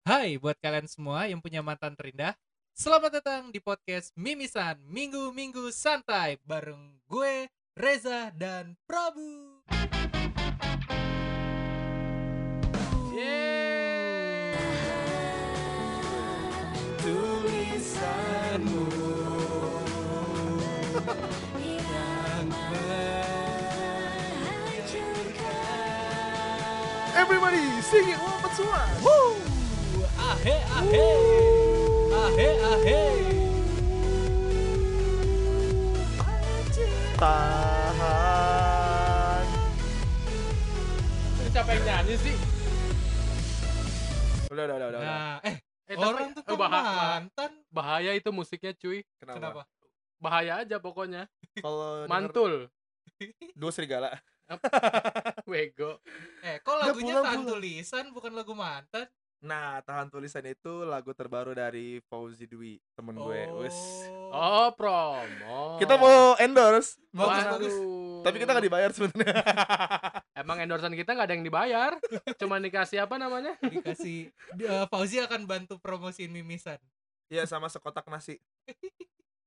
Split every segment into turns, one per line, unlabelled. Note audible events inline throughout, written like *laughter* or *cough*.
Hai buat kalian semua yang punya mantan terindah. Selamat datang di podcast Mimisan Minggu-Minggu Santai bareng gue Reza dan Prabu. Yeay.
tulisanmu yang
Everybody sing it one more time.
*laughs* Ahe ahe. Ahe ahe.
Tahan.
siapa yang nyanyi sih?
Udah, udah, udah, udah.
Nah, eh
Eh, tapi-
orang tuh
eh,
kan
bahaya,
mantan.
bahaya itu musiknya cuy
Kenapa?
Kenapa?
bahaya aja pokoknya
Kalau denger
mantul
dua serigala.
wego
Eh, kok
Udah
lagunya
pulang,
tahan
pulang.
tulisan bukan lagu mantan?
Nah, tahan tulisan itu lagu terbaru dari Fauzi Dwi, temen gue. Wes.
*laughs*
Oh.
oh promo
Kita mau endorse,
Bagus,
Waduh.
bagus.
tapi kita nggak dibayar
*laughs*
sebenarnya.
emang endorsan kita nggak ada yang dibayar cuma dikasih apa namanya
Dikasih eh, Fauzi akan bantu promosiin Mimisan.
Iya, sama sekotak nasi.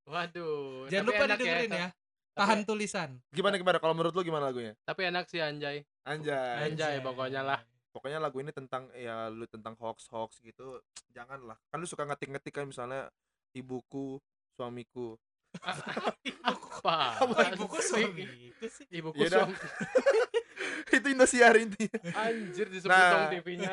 waduh
Jangan
tapi
lupa
enak
didengerin
ta-
ya.
tapi-
Tahan tulisan.
Gimana gimana? Kalau menurut lu gimana lagunya?
tapi enak sih
*laughs*
anjay
Anjay.
Anjay. pokoknya lah.
Pokoknya lagu ini tentang ya lu tentang hoax hoax gitu. Janganlah. Kan lu suka ngetik-ngetik kan misalnya ibuku, suamiku.
*laughs* apa
Apa ibuku suami itu gitu sih?
ibuku
Yaudah.
suami.
*laughs* itu Indosiar intinya.
anjir disebut
Nah,
dong TV-nya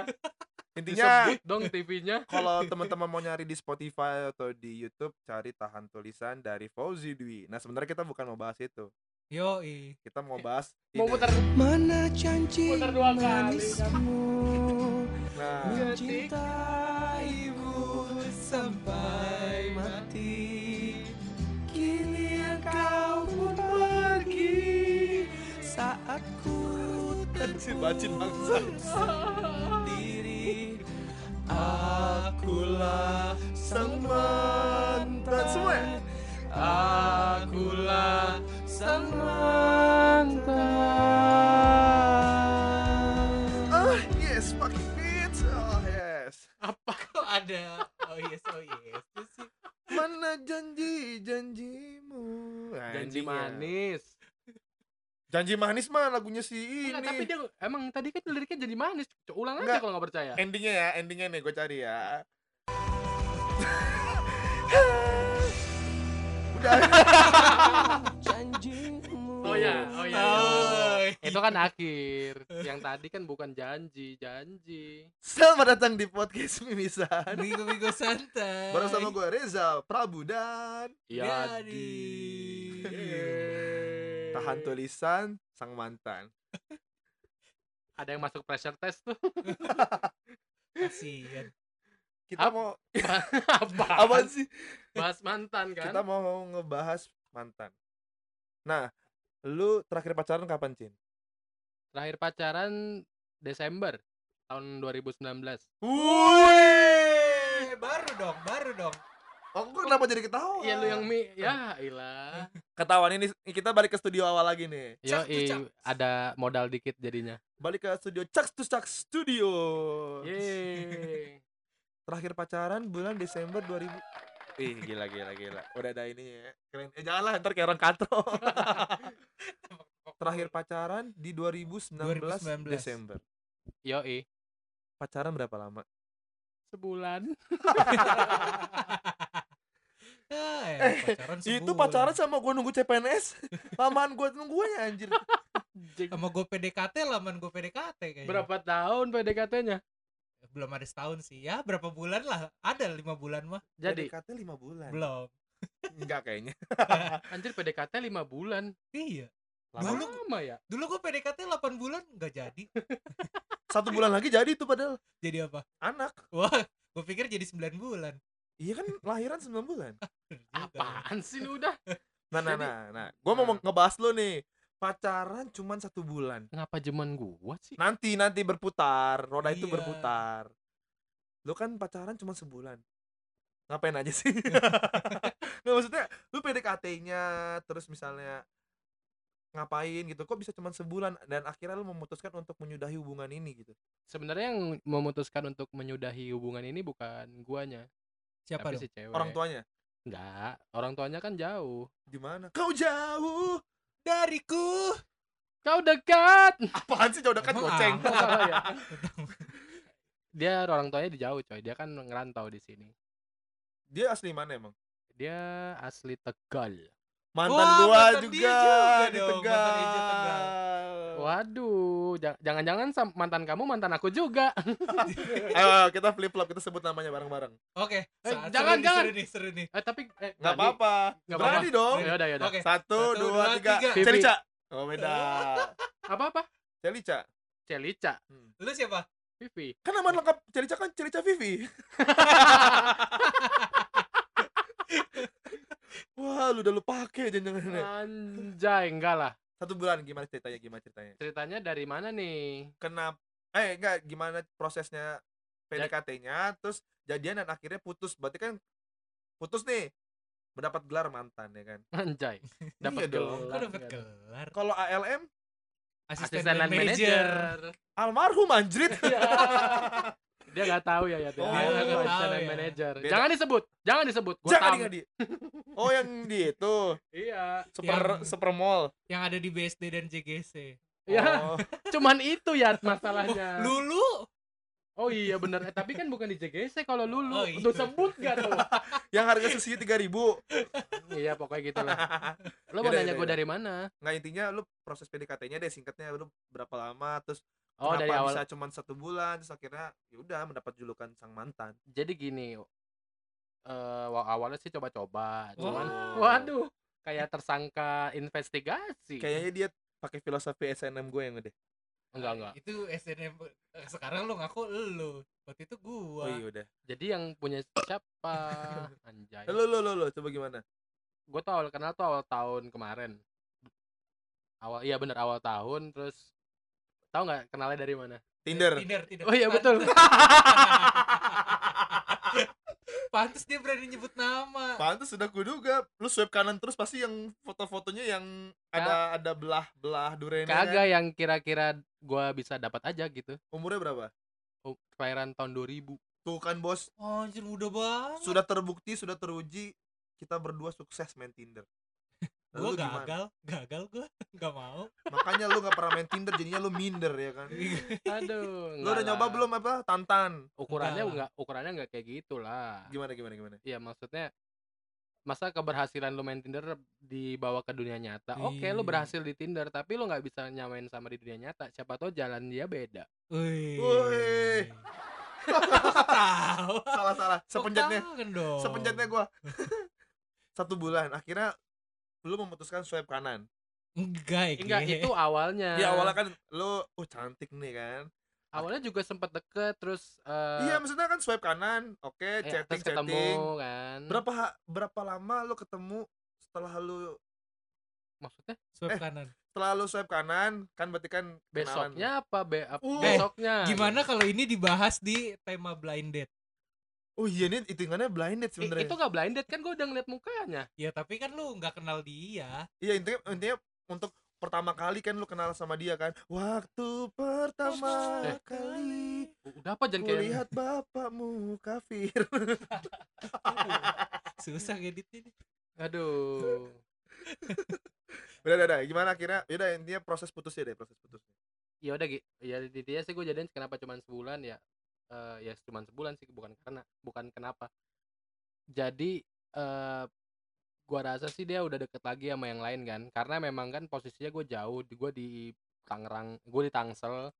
Intinya
disebut dong TV-nya
*laughs* kalau teman-teman mau nyari di Spotify atau di YouTube cari tahan tulisan dari Fauzi Dwi. Nah, sebenarnya kita bukan mau bahas itu.
Yoi.
Kita mau bahas
mau
ini.
putar
Nah,
Mana janji
putar dua kali
manismu
Iya.
Nah,
Mencintaimu sampai mati Kini engkau pun pergi Saat ku
si bacin bangsa.
terpuruk sendiri Akulah
Sang mantan semua. ya?
Akulah sang mantan
Ah, yes, fucking bitch. Oh, yes.
apa
Kok ada oh yes oh yes itu sih.
Mana janji janjimu?
janji
Anjing ya.
manis
Janji manis mah lagunya si ini.
Enggak, tapi dia emang tadi kan liriknya jadi manis. Coba ulang aja
Enggak.
kalau nggak percaya.
Endingnya ya, endingnya nih gue cari
*laughs*
ya. Udah. *laughs*
Janjimu
Oh
iya.
ya, oh ya.
Oh.
Itu
*laughs*
kan akhir. Yang tadi kan bukan janji, janji.
Selamat datang di podcast Mimisan.
Minggu-minggu santai.
Baru sama gue Reza Prabu dan
Iya,
Iya,
Yadi.
tahan tulisan sang mantan.
Ada yang masuk pressure test tuh.
Kasihan.
Kita
Ap-
mau
apa?
apa sih?
Bahas mantan kan?
Kita mau ngebahas mantan. Nah, lu terakhir pacaran kapan, Cin?
Terakhir pacaran Desember tahun 2019.
Wih.
Eh, baru dong, baru
*laughs*
dong.
Aku kan kenapa jadi ketawa?
Iya lu yang mi, ya ilah.
ketahuan ini kita balik ke studio awal lagi nih.
Yo,
Cak, tuh, cak.
ada modal dikit jadinya.
Balik ke studio Caks to Caks Studio.
Yeay.
Terakhir pacaran bulan Desember 2000. Ih, gila gila gila. Udah ada ini ya. Keren. Eh janganlah ntar kayak orang *laughs* katro. Terakhir pacaran di 2019,
2019.
Desember.
Yoi,
Pacaran berapa lama?
sebulan.
Ah, ya, pacaran
Eh,
sebulan.
Itu pacaran sama gue nunggu CPNS. *laughs* Lamaan gue nungguannya anjir.
Anjing.
sama gue PDKT laman gue PDKT kayaknya.
Berapa tahun PDKT-nya?
Belum ada setahun sih. Ya, berapa bulan lah? Ada lima bulan mah.
Jadi,
PDKT 5 bulan.
Belum.
Enggak
*laughs*
kayaknya.
anjir PDKT 5 bulan.
Iya.
Lama.
Dulu-
Lama ya?
Dulu gue PDKT 8 bulan nggak jadi.
Satu bulan lagi jadi itu padahal
Jadi apa?
anak.
Wah, gue pikir jadi 9 bulan.
Iya kan lahiran 9 bulan.
Bener
Iya
juga.
kan? Apaan sih lu udah?
Nah, nah,
Jadi-
nah, nah. Gue mau
Nah.
ngebahas lu nih. Pacaran cuman satu bulan.
Ngapa jeman gua sih?
Nanti nanti berputar, roda itu
Iya.
berputar. Lu kan pacaran cuma sebulan. Ngapain aja
*laughs*
sih? Nggak maksudnya lu PDKT-nya terus misalnya ngapain gitu kok bisa cuma sebulan dan akhirnya lu memutuskan untuk menyudahi hubungan ini gitu
Sebenarnya yang memutuskan untuk menyudahi hubungan ini bukan guanya,
Siapa
tapi
dong?
si cewek.
orang tuanya
Enggak, orang tuanya kan jauh.
gimana kau jauh dariku
Kau
*laughs*
dekat.
apaan sih jauh dekat
Emang
goceng
Oh, salah ya. Dia orang tuanya di jauh, coy. Dia kan ngerantau di sini.
dia asli mana emang
Dia asli Tegal.
mantan
Wah,
gua
mantan dia
juga,
juga
di
dong, mantan Eja Tegal.
Tegal.
Waduh, ja- jangan-jangan sam- mantan kamu mantan aku juga. *laughs*
Ayo, ayo, kita flip flop kita sebut namanya bareng-bareng
Oke.
Eh,
Sa- seru nih,
jangan, jangan.
Seru nih, seru nih.
eh tapi eh,
nggak
berani.
apa-apa
Nggak
berani dong
Ya udah ya udah.
Oke.
satu
Satu, dua,
dua tiga
tiga.
celica oh beda
Apa apa?
celica
Celica,
Hmm.
Lu siapa?
*laughs*
Vivi.
kan nama lengkap celica kan celica Vivi wah lu udah lu pake jangan-jangan
Anjay, enggak lah.
satu bulan gimana ceritanya gimana ceritanya
Ceritanya dari mana nih?
kenapa eh enggak gimana prosesnya PDKT-nya terus jadian dan akhirnya putus berarti kan putus nih mendapat gelar mantan ya kan *laughs*
Anjay. Dapat
Iya dong.
Kok
gelar,
dapat
kan.
gelar?
kalau ALM
Asisten,
Asisten
dan manager.
almarhum anjrit
Iya. *laughs* Dia nggak tahu ya ya. Dia
Oh,
nggak
nggak
asisten
tahu
dan
ya.
manager.
Beda.
Jangan disebut. Jangan disebut. Gua
*laughs* jangan
tam-
ingat di oh yang di itu
*laughs* Iya.
super
Yang-
super mall
Yang ada di BSD dan JGC.
oh,
Iya. *laughs* Cuman itu ya masalahnya.
Lulu.
Oh iya benar. Eh, tapi kan bukan di JGC kalau
Oh,
lulu.
iya.
Udah sebut gak tuh? *laughs*
yang harga sushi tiga ribu
iya pokoknya gitu lah. Lo mau
Yaudah,
nanya
yaudah,
gue
yaudah.
dari mana?
*laughs* nggak intinya lu proses PDKT-nya deh singkatnya lu berapa lama terus
Oh
kenapa
dari awal.
bisa cuma satu bulan terus akhirnya ya udah mendapat julukan sang mantan
Jadi gini. Eh wa- awalnya sih coba-coba. Cuman
Wow.
Oh.
waduh kayak tersangka investigasi.
kayaknya dia pakai filosofi SNM gue yang udah
Enggak enggak.
Itu SNM eh, sekarang lu ngaku lu. Waktu itu
oh
gua.
iya udah
Jadi yang punya siapa? Anjay.
lo lo lo lo coba gimana
gue tuh awal kenal tuh awal tahun kemarin awal iya bener awal tahun terus tahu nggak kenalnya dari mana
*laughs* Tinder
Tinder, Tinder.
oh iya betul
*laughs* Pantes dia berani nyebut nama.
pantas sudah kuduga lu swipe kanan terus pasti yang foto-fotonya yang ada ada belah belah durian
kagak yang kira-kira gua bisa dapat aja gitu
umurnya berapa
Oh, kelahiran tahun 2000
tuh kan bos
Anjir muda banget.
sudah terbukti sudah teruji kita berdua sukses main
*laughs*
Tinder
Gua
Lu gimana?
gagal, gagal gua. *laughs* Gak mau.
makanya lu nggak pernah main Tinder jadinya lu minder ya kan
aduh
*laughs* lu
Iya. enggak
udah nyoba
lah.
belum apa tantan
ukurannya
Enggak
enggak ukurannya enggak kayak gitulah
gimana gimana gimana
iya maksudnya masa keberhasilan lu main Tinder dibawa ke dunia nyata oke lu
Iya.
berhasil di Tinder tapi lu nggak bisa nyamain sama di dunia nyata siapa tahu jalan dia beda
Wih.
Wih.
Tahu.
salah salah
Oh,
sepenjatnya
Kok kangen dong.
sepenjatnya gua *laughs* satu bulan akhirnya lu memutuskan swipe kanan
Enggak, ya,
enggak
Ge.
itu awalnya
ya awalnya kan lu oh cantik nih kan
awalnya juga sempet deket terus eh,
iya maksudnya kan swipe kanan oke
eh,
chatting
terus ketemu
chatting
kan
berapa ha- berapa lama lu ketemu setelah lu
maksudnya
Swipe
Eh.
kanan.
setelah lu swipe kanan kan berarti kan kenalan.
besoknya apa Be- ap-
Uh.
besoknya
Gimana kalau ini dibahas di tema blind date?
oh iya ini hitungannya blind date
I-
sebenarnya
itu nggak blinded kan gue udah ngeliat mukanya
Ya tapi kan lu nggak kenal dia.
Iya intinya intinya untuk pertama kali kan lu kenal sama dia kan. Waktu pertama
Eh.
kali
udah apa jangan kayak
kulihat bapakmu kafir. *laughs*
*laughs* Susah ngeditnya nih.
aduh
udah, udah, udah. Gimana akhirnya? Udah intinya proses putusnya deh, proses putusnya.
ya udah gitu ya intinya sih gue jadian kenapa cuman sebulan ya Eh, ya cuman sebulan sih bukan karena bukan kenapa jadi eh gua rasa sih dia udah deket lagi sama yang lain kan karena memang kan posisinya gue jauh gue di Tangerang gue di Tangsel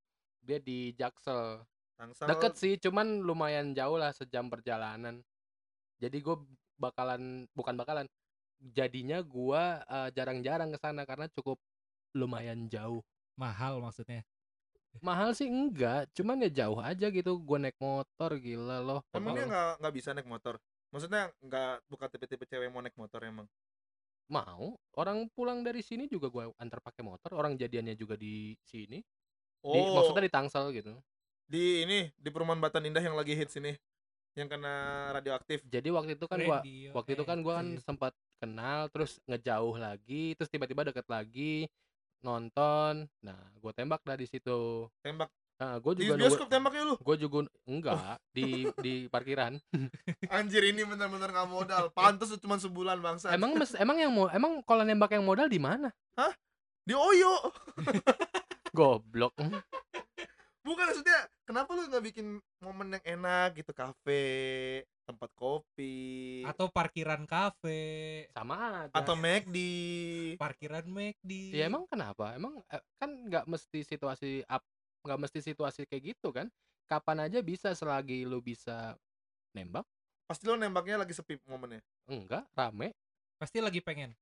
dia di Jaksel
Tangsel.
deket sih cuman lumayan jauh lah sejam perjalanan jadi gue bakalan bukan bakalan jadinya gua eh, jarang-jarang ke sana karena cukup lumayan jauh
Mahal maksudnya.
mahal sih enggak cuman ya jauh aja gitu gue naik motor gila loh
Emang dia
Kalau
nggak nggak bisa naik motor. Maksudnya nggak bukan tipe-tipe cewek yang mau naik motor emang.
mau orang pulang dari sini juga gue antar pakai motor orang jadiannya juga di sini
Oh,
di,
di,
maksudnya di Tangsel gitu
ini di perumahan Batan Indah yang lagi hits ini yang kena radioaktif.
jadi waktu itu kan gua
Radio
waktu itu kan gue kan
active.
sempat kenal terus ngejauh lagi terus tiba-tiba deket lagi nonton nah gue tembak dari situ
Tembak
nah, gue
di
juga
bioskop Oh. tembaknya lu.
gue juga enggak di di parkiran
*laughs* Anjir ini bener-bener nggak modal. Pantes lu cuma sebulan bangsa.
emang mes, emang yang mau emang kalau nembak yang modal di mana
di Oyo.
goblok hmm,
Bukan maksudnya kenapa lu nggak bikin momen yang enak gitu kafe, tempat kopi
atau parkiran kafe
sama aja
atau McD.
parkiran McD
ya emang kenapa emang eh, kan nggak mesti situasi up nggak mesti situasi kayak gitu kan kapan aja bisa selagi lu bisa nembak
Pasti lu nembaknya lagi sepi momennya.
enggak rame
pasti lagi pengen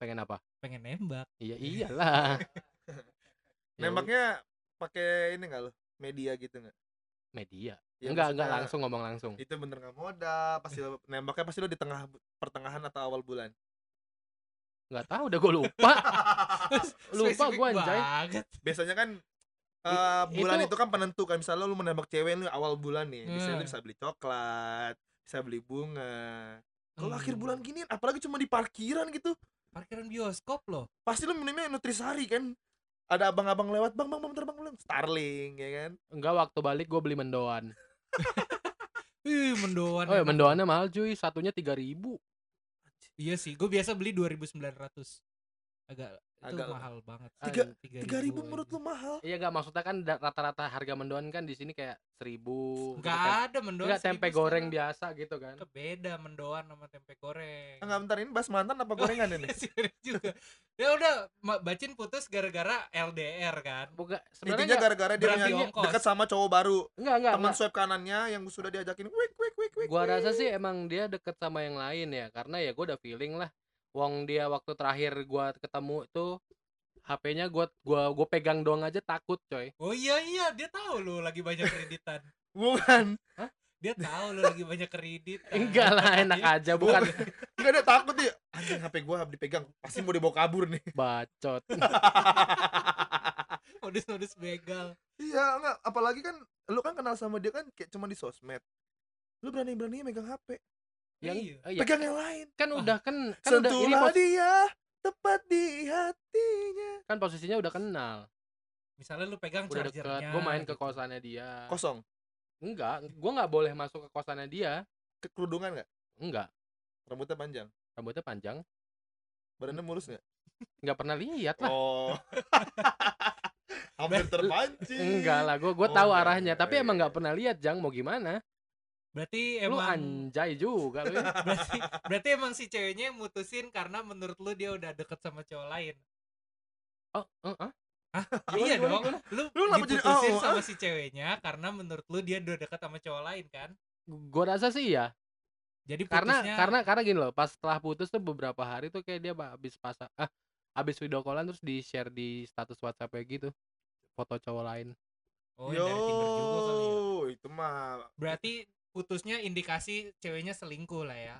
pengen apa
pengen nembak
iya iyalah Ya udah,
Nembaknya pakai ini nggak lu? Media gitu nggak?
media
Ya,
enggak enggak
maksudnya
langsung ngomong langsung
Itu bener nggak modal. Pasti
*laughs*
lu- nembaknya pasti lu di tengah pertengahan atau awal bulan.
nggak tahu udah gue
*laughs*
lupa lupa
Spesifik
gue anjay
banget
Biasanya kan
I-
eh, bulan
itu- Iya.
itu, kan penentu kan misalnya lu menembak cewek lu awal bulan nih
Hmm.
biasanya lu bisa beli coklat bisa beli bunga kalau
Hmm,
akhir bulan gini apalagi cuma di parkiran gitu
parkiran bioskop loh
pasti lu minumnya nutrisari kan ada abang-abang lewat bang bang bang bentar bang belum Starling ya kan
enggak waktu balik gue beli mendoan
Ih, mendoan.
oh ya
enak.
mendoannya mahal cuy satunya tiga ribu
Iya sih, gue biasa beli 2900. Agak
Agak
itu mahal banget.
Tiga-
tiga ribu menurut lu mahal
iya enggak maksudnya kan da- rata-rata harga mendoan kan di sini kayak seribu
Enggak ada mendoan.
enggak tempe
seribu
goreng
setengah.
biasa gitu kan
Beda mendoan sama tempe goreng. *laughs*
enggak bentar ini bahas mantan apa gorengan ini
Serius juga. Ya udah, Ma- Bacin putus gara-gara LDR kan.
bukan *laughs* sebenarnya
intinya
enggak-
gara-gara dia
berarti
punya
ongkos.
deket sama cowok baru
enggak enggak
teman
enggak.
swipe kanannya yang sudah diajakin wik wik wik wik
gua
wik.
rasa sih emang dia deket sama yang lain ya karena ya gua udah feeling lah wong dia waktu terakhir gua ketemu itu HP-nya gua gua gua pegang doang aja takut coy
Oh iya iya, dia tahu lu lagi banyak kreditan.
bukan
Dia tahu lu lagi banyak kredit.
Ah,
kan. Iya,
enggak
*laughs*
lah enak
iya.
aja bukan
enggak dia takut dia anjing HP gua dipegang pasti mau dibawa kabur nih *laughs*
bacot
Modus-modus begal.
Iya, enggak. Apalagi kan lu kan kenal sama dia kan kayak cuma di sosmed. Lu berani-berani megang HP.
yang
Iya.
eh, ya,
Pegang yang lain.
kan udah kan kan udah ini
Sentuhlah
pos-
dia tepat di hatinya.
kan posisinya udah kenal
Misalnya lu pegang
udah deket
chargernya.
gua main ke
gitu.
kosannya dia
Kosong.
enggak gua nggak boleh masuk ke kosannya dia
Kekerudungan enggak?
enggak
Rambutnya panjang.
rambutnya panjang
Badannya mulus enggak?
nggak pernah lihat lah *laughs*
Oh. Hampir terpancing.
enggak lah gua gua
Oh,
tahu
enggak,
arahnya
enggak,
tapi
iya,
emang nggak
iya.
pernah lihat jang mau gimana
Berarti
lu
emang
anjay juga lu ya.
*laughs* berarti berarti emang si ceweknya yang mutusin karena menurut lu dia udah deket sama cowok lain
Oh, eh, eh.
iya dong
gimana,
lu,
Lu kenapa jadi
diputusin
oh, oh,
sama si ceweknya karena menurut lu dia udah deket sama cowok lain kan
Gua rasa sih ya.
jadi
Karena
putusnya
karena karena gini loh, pas setelah putus tuh beberapa hari tuh kayak dia ba- habis pasang ah habis video callan terus di-share di status WhatsApp gitu foto cowok lain.
oh
Yo,
dari Tinder juga kali ya
itu mah
berarti putusnya indikasi ceweknya selingkuh lah ya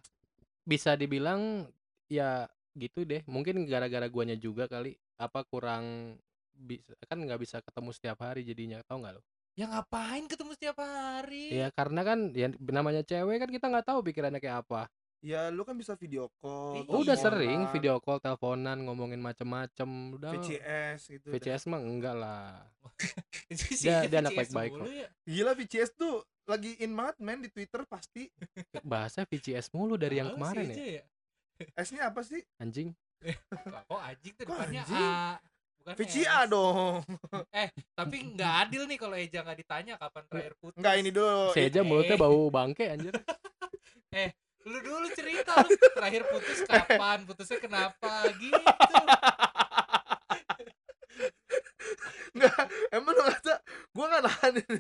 Bisa dibilang ya gitu deh. Mungkin gara-gara guanya juga kali apa kurang bisa kan nggak bisa ketemu setiap hari jadinya tau nggak lo?
ya ngapain ketemu setiap hari *laughs*
Ya karena kan ya namanya cewek kan kita nggak tahu pikirannya kayak apa.
ya lu kan bisa video call.
Iya.
terus
Udah
Teleponan.
sering
teleponan,
video call, teleponan, ngomongin macem-macem, udah.
VCS gitu. udah.
VCS mah enggak lah.
Si
Dia- dia anak
VCS
baik-baik
mulu ya.
Gila VCS tuh lagi in banget men di Twitter pasti.
bahasa VCS mulu dari yang
Males
kemarin
aja
ya
S-nya apa sih?
anjing
Lah, kok anjing tuh
Kok
depannya
anjing?
A
ya?
bukan
VCA
S.
dong.
tapi nggak adil nih kalau Eja nggak ditanya kapan terakhir putus
Enggak ini dulu.
saya aja
eh.
mulutnya bau bangke *laughs* anjir
lu dulu cerita lu terakhir putus kapan putusnya kenapa gitu
Enggak, emang lu ngerasa gua enggak nahan ini.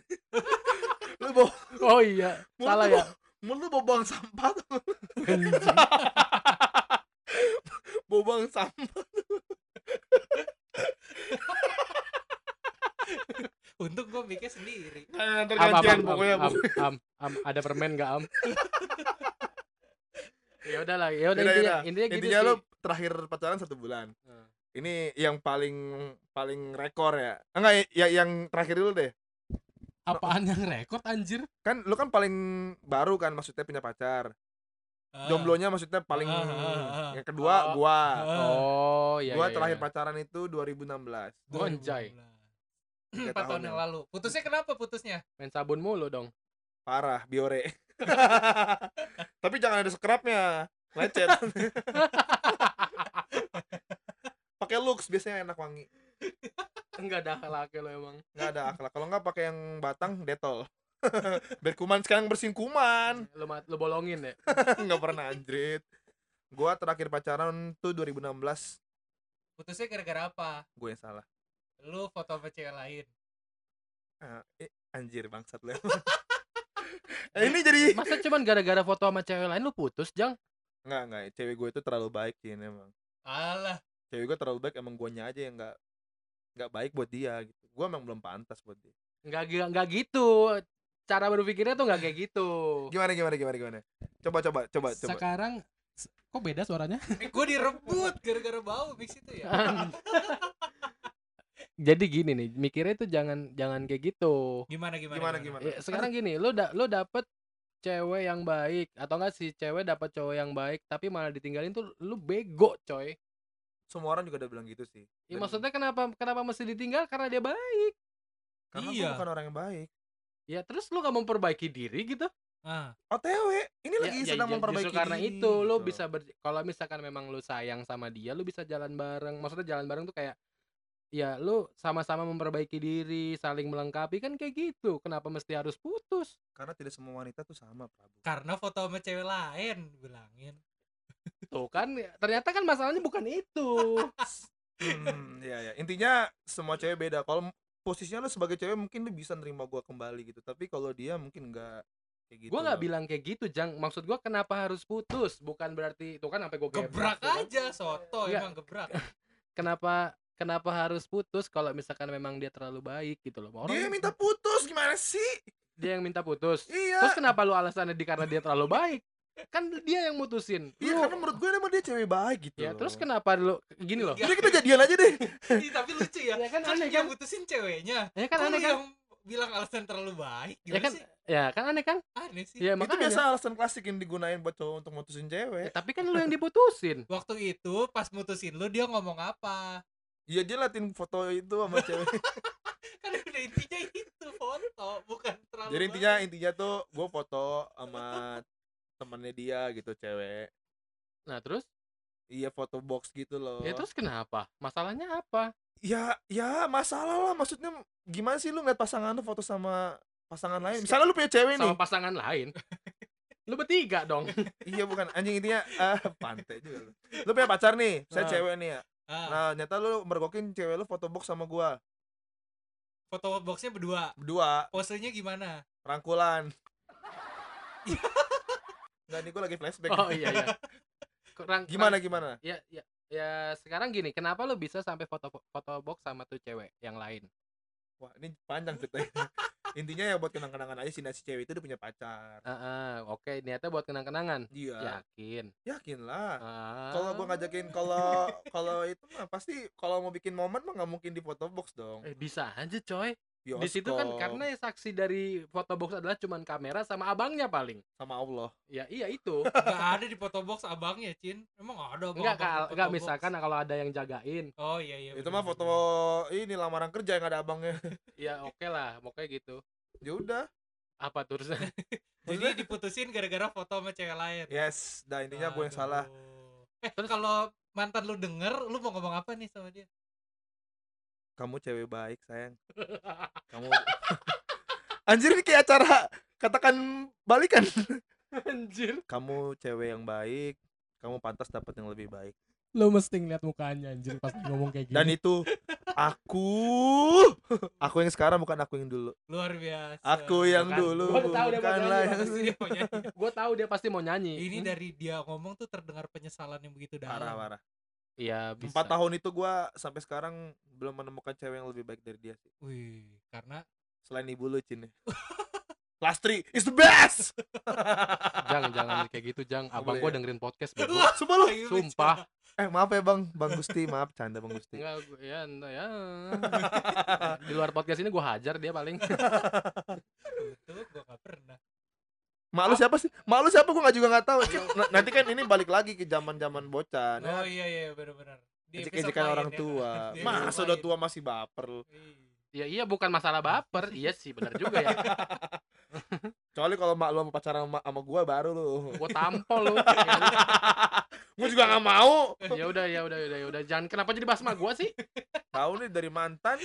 lu bau
oh iya
mulut
salah
lu
ya
bau- Mulut lu bau buang sampah tuh.
Anjing.
Bau buang sampah.
untung gue mikir sendiri
Nah,
am, am, am,
gantian
am,
pokoknya.
am, am, am. ada permen gak *laughs* am ya udahlah ya udah
Yaudah,
intinya
yaudah.
intinya gitu
Intinya
sih
lu terakhir pacaran satu bulan.
Hmm.
Ini yang paling paling rekor ya. Enggak, ya yang terakhir dulu deh.
apaan yang rekor anjir
Kan lu kan paling baru kan maksudnya punya pacar.
Ah.
jomblonya maksudnya paling
Ah, ah, ah, ah.
yang kedua gua
Ah.
Oh iya.
gua
iya,
terakhir
iya.
pacaran itu 2016
Gonjai.
2015. Empat tahun
ya.
yang lalu. Putusnya kenapa putusnya?
main sabun mulu dong.
parah biore tapi jangan ada scrubnya lecet pakai lux biasanya enak wangi
Enggak ada laki lo emang.
nggak ada akhlak kalau nggak pakai yang batang detol *laughs* biar kuman sekarang bersihin kuman
Lo, mat- lo bolongin ya.
*laughs* nggak pernah anjrit gua terakhir pacaran tuh 2016
Putusnya gara-gara apa?
gue yang salah
Lu foto sama cewek lain.
Ah, eh, anjir bangsat lu emang. Eh, ini jadi
*laughs* Masa cuman gara-gara foto sama cewek lain lu putus, Jang?
nggak nggak cewek gue itu terlalu baik Jin, emang
Alah,
cewek gue terlalu baik emang guanya aja yang nggak nggak baik buat dia gitu gue emang belum pantas buat dia
Enggak enggak gitu. Cara berpikirnya tuh enggak kayak gitu.
gimana gimana gimana gimana coba coba coba coba
Sekarang s- kok beda suaranya?
eh, gua direbut gara-gara bau mix itu ya.
kan. *laughs* Jadi gini nih, mikirnya tuh jangan jangan kayak gitu.
Gimana gimana?
gimana gimana
Ya, sekarang gini, lu da lu dapet cewek yang baik atau enggak sih cewek dapat cowok yang baik tapi malah ditinggalin tuh lu bego, coy.
semua orang juga udah bilang gitu sih
Ya,
Dan-
maksudnya kenapa kenapa mesti ditinggal karena dia baik?
karena
Iya.
gue bukan orang yang baik
Ya terus lu gak memperbaiki diri gitu?
Ah,
otw ini lagi
ya,
sedang
ju-
memperbaiki
justru karena
diri,
itu lu
gitu.
bisa ber- kalau misalkan memang lu sayang sama dia lu bisa jalan bareng maksudnya jalan bareng tuh kayak ya lu sama-sama memperbaiki diri saling melengkapi kan kayak gitu kenapa mesti harus putus
karena tidak semua wanita tuh sama prabu
karena foto sama cewek lain bilangin.
tuh kan ternyata kan masalahnya bukan itu
*laughs* hmm, ya ya intinya semua cewek beda kalau m- posisinya lu sebagai cewek mungkin lu bisa nerima gua kembali gitu tapi kalau dia mungkin nggak kayak gitu
gua nggak
loh.
bilang kayak gitu jang maksud gua kenapa harus putus bukan berarti tuh kan sampai gua
Gebrak
ya kan?
aja soto
Iya.
emang gebrak.
kenapa kenapa harus putus kalau misalkan memang dia terlalu baik gitu loh Orang-
dia yang minta putus gimana sih
dia yang minta putus
iya
Terus kenapa lu alasannya di karena dia terlalu baik? Kan dia yang mutusin.
iya
Lu-
karena menurut gue emang dia cewek baik gitu
ya
loh.
terus kenapa lu gini loh?
Iya.
Jadi kita gitu jadian aja
*laughs*
deh
Ih, tapi lucu ya.
Ya kan
Kan
aneh
yang
kan?
putusin ceweknya.
Ya kan
Kan
aneh kan?
yang bilang alasan terlalu baik.
Ya
Gimana
kan
sih?
ya kan aneh kan?
Aneh sih.
Ya
itu
makanya.
biasa alasan klasik yang digunain buat cowok untuk mutusin
Ya,
cewek
tapi kan lu yang diputusin.
Waktu itu pas mutusin lu dia ngomong apa? *laughs*
iya dia latin foto itu
*laughs*
sama cewek
Kan udah intinya itu foto, bukan terlalu
jadi intinya
baik.
intinya tuh gue foto sama temennya dia gitu cewek
Nah, terus
iya foto box gitu loh
ya terus kenapa? Masalahnya apa?
ya ya masalah lah maksudnya gimana sih lu ngeliat pasangan lu foto sama pasangan lain misalnya lu punya cewek
Sama
nih
pasangan lain. lu bertiga dong.
*laughs* iya bukan anjing intinya ah pantai juga lu lu punya pacar nih saya
Nah.
cewek nih ya
Ah,
nah nyata lu mergokin cewek lu foto box sama gua
foto boxnya berdua.
berdua
Posenya
*laughs*
gimana?
*laughs*
rangkulan Enggak nih gua lagi flashback
Oh iya iya. Kurang
gimana gimana
Ya ya ya sekarang gini, kenapa lu bisa sampai foto foto box sama tuh cewek yang lain?
wah ini panjang ceritanya *laughs* intinya ya buat kenang-kenangan aja si nasi cewek itu dia punya pacar
Heeh, oke, niatnya buat kenang-kenangan.
iya
Yakin.
yakin lah
Ya. Ah.
kalau gua ngajakin kalau kalau itu mah pasti kalau mau bikin momen mah nggak mungkin di foto box dong
Eh, bisa aja coy di situ kan
Bioskop
karena saksi dari foto box adalah cuman kamera sama abangnya paling
sama Allah
ya iya itu
Gak ada di foto box abangnya, Cin. Emang ada abang abang di
enggak kal
foto
enggak
box?
misalkan kalau ada yang jagain
Oh iya iya.
itu mah foto ini lamaran kerja yang ada abangnya *laughs*
ya oke lah pokoknya gitu
ya udah
apa terusnya
Jadi diputusin gara-gara foto sama cewek lain.
yes dah intinya gue
Ah,
yang
Aduh.
salah
Eh,
Terus-
kalau mantan lu denger, lu mau ngomong apa nih sama dia?
kamu cewek baik *laughs* sayang kamu *laughs* anjir ini kayak acara katakan balikan
*laughs*
*laughs*
anjir
kamu cewek yang baik kamu pantas dapat yang lebih baik
Lu mesti ngeliat mukanya anjir pas ngomong kayak gini.
dan itu aku *laughs* aku yang sekarang bukan aku yang dulu
Luar biasa.
aku yang
Bukan.
dulu
Gua udah tahu dia mau
bukanlah
nyanyi,
yang
Abis
*laughs*
ini mau nyanyi.
gue tahu dia pasti mau nyanyi
Ini
Hmm?
dari dia ngomong tuh terdengar penyesalan yang begitu
parah
dalam.
parah
iya bisa
empat tahun itu gua sampai sekarang belum menemukan cewek yang lebih baik dari dia sih
Wih,
*laughs*
karena
selain ibu lu cine *laughs* Lastri is the best
jangan jangan kayak gitu jang abang
Boleh
gue
ya?
dengerin podcast bego
Wah, *laughs* sumpah *laughs* lu
Ayo,
sumpah
eh maaf ya bang bang Gusti maaf canda bang Gusti
enggak gua- ya entah ya di luar podcast ini gue hajar dia paling
bicara. Itu gua gak pernah.
Malu siapa sih? Malu siapa gua nggak juga nggak tahu. N- Nanti kan ini balik lagi ke zaman-zaman bocah.
Oh
Nah,
iya iya benar-benar. Di episode
Ejek-ejekan
lain
orang
ya. *laughs*
*laughs*
tua.
Di
Iya,
Masa
episode
udah
lain.
tua masih baper.
Iya.
Ya iya bukan masalah baper. Iya sih benar juga ya.
Kecuali kalau mak lu sama pacaran sama, sama gua baru
*laughs*
lu.
Gua tampol lu. Iya,
gua juga nggak mau.
Ya udah ya udah ya udah ya udah. Jangan kenapa jadi bahas sama gua sih?
Tahu nih dari mantan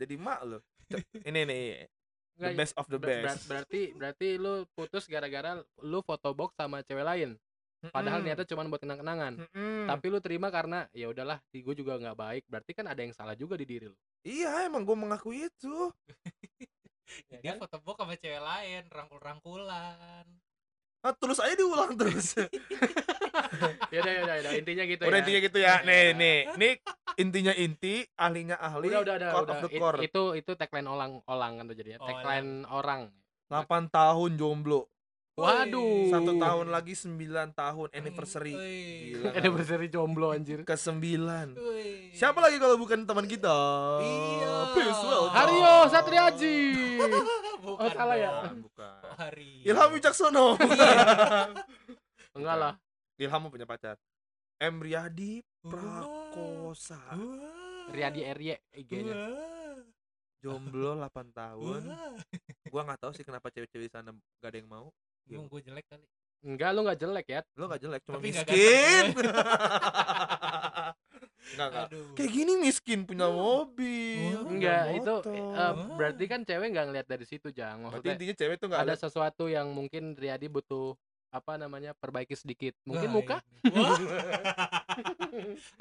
jadi mak lu. C- Ini nih the
Enggak,
best of the
ber- ber-
best.
berarti berarti lu putus gara-gara lu foto box sama cewek lain. Padahal
Mm-mm.
niatnya cuma buat kenang-kenangan.
Mm-mm.
Tapi lu terima karena ya udahlah, di gua juga nggak baik. Berarti kan ada yang salah juga di diri lu.
Iya emang gua mengakui itu.
Ya
Dia
kan?
foto book sama cewek lain, rangkul-rangkulan.
Ah, terus aja diulang terus.
Ya udah ya udah ya *laughs* udah. intinya gitu
udah
ya.
intinya gitu ya.
Iya.
Nih nih nih intinya inti, ahlinya ahli.
Udah udah udah,
core
udah.
of the
It-
core. Oh, iya.
itu itu tagline orang orang kan tuh jadinya.
Orang.
Tagline
*laughs*
orang.
8 tahun jomblo.
Waduh.
Satu
Uh.
tahun lagi 9 tahun
Mm,
anniversary.
*laughs*
Gila.
Ada berseri jomblo Iya. anjir. Iya.
Ke 9.
Wih.
Siapa lagi kalau bukan teman kita?
Iya.
Please welcome.
Hario Satriaji.
*laughs* Bukan
Oh, salah ya? Iya.
Bukan,
dong.
bukan.
Kok Hari.
Ilham Wicaksono.
Enggak lah.
*laughs* Ilham mau punya pacar. M Riyadi
Wah.
Prakosa.
Wah.
Riyadi Erye IG-nya.
Wah.
Jomblo 8 tahun.
Wah.
Iya.
Gua nggak tahu sih kenapa cewek-cewek di sana gak ada yang mau.
Bingung gue jelek kali.
Enggak lu enggak jelek ya.
Lo gak jelek, cuma
Tapi nggak
miskin. *laughs* Enggak, enggak.
Aduh.
Kayak gini miskin punya
Hmm.
mobil.
Hmm.
punya
Enggak, Iya. itu eh,
motor.
berarti kan cewek nggak ngeliat dari situ, Jang.
Berarti
Maksudnya
intinya cewek tuh nggak
ada
ada. *laughs*
sesuatu yang mungkin Riyadi butuh apa namanya perbaiki sedikit. Mungkin
Wah,
muka
ini. *laughs* Wah.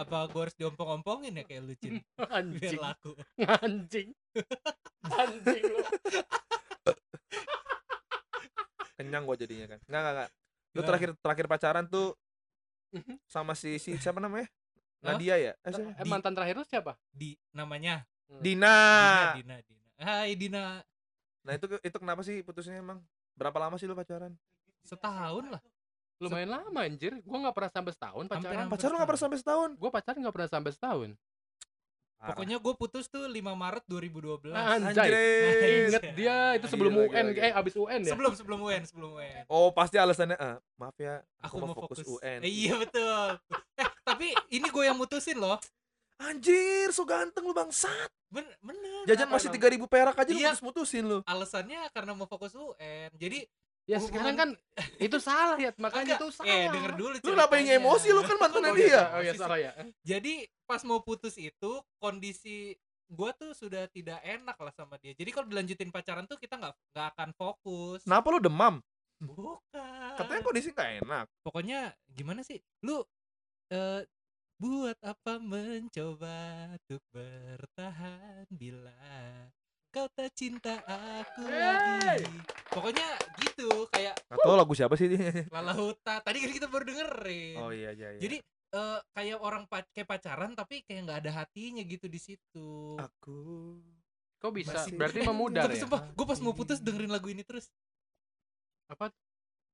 Apa gue harus diompong-ompongin ya kayak lucin biar
*laughs* anjing,
laku.
anjing, anjing lu.
Kenyang gua jadinya kan. Enggak, enggak, enggak. Lu
Gimana?
terakhir terakhir pacaran tuh sama si,
*laughs*
si siapa namanya?
Mhm. Hah? Nah.
Nadia ya? Eh, siapa?
Eh, mantan terakhir lu siapa?
Di namanya
Dina. Ah.
Dina, Dina, Dina. Hai Dina.
Nah, itu itu kenapa sih putusnya emang? Berapa lama sih lu pacaran?
Setahun lah.
Hmm, Lumayan lama anjir. Gua nggak pernah sampai setahun pacaran.
Hampir-
Pacaran lu gak pernah sampai setahun.
Gua pacaran nggak pernah sampai setahun.
Parah.
Pokoknya gue putus tuh 5 Maret 2012.
Ah,
Anjay.
Anjir.
Ingat dia itu sebelum
Gila,
UN,
gila, gila.
eh abis UN ya.
Sebelum sebelum UN, sebelum UN.
Oh, pasti alasannya eh, maaf ya,
Aku mau fokus,
UN.
Eh, iya betul. eh, tapi ini gue yang mutusin loh.
Anjir, so ganteng lu bangsat.
Ben bener.
Jajan
Apa
masih
emang?
3000 perak aja lu
Iya.
putus-putusin lu.
Alasannya karena mau fokus UN. Jadi eh,
Ya
Hubungan-
sekarang kan itu salah ya,
Enggak,
makanya itu salah.
Eh, denger dulu
Lu kenapa yang
ceritanya.
emosi lu kan mantannya
Oh iya,
dia?
Oh iya, salah ya.
Jadi pas mau putus itu kondisi gue tuh sudah tidak enak lah sama dia. Jadi kalau dilanjutin pacaran tuh kita nggak nggak akan fokus.
Kenapa lu demam?
Bukan.
Nah, Katanya kondisi gak enak.
Pokoknya gimana sih? Lu eh, buat apa mencoba untuk bertahan bila kau tak cinta aku
Yeay.
lagi. Pokoknya gitu kayak
Gak tau lagu siapa sih dia.
lalauta. Tadi kan kita baru dengerin.
Oh iya iya iya.
Iya. Jadi eh, kayak orang pac- kayak pacaran tapi kayak nggak ada hatinya gitu di situ.
aku
Kok bisa?
*laughs*
Masih-
Berarti
Eh,
memudar
tapi
ya.
sumpah, gue pas mau putus dengerin lagu ini terus.
Apa?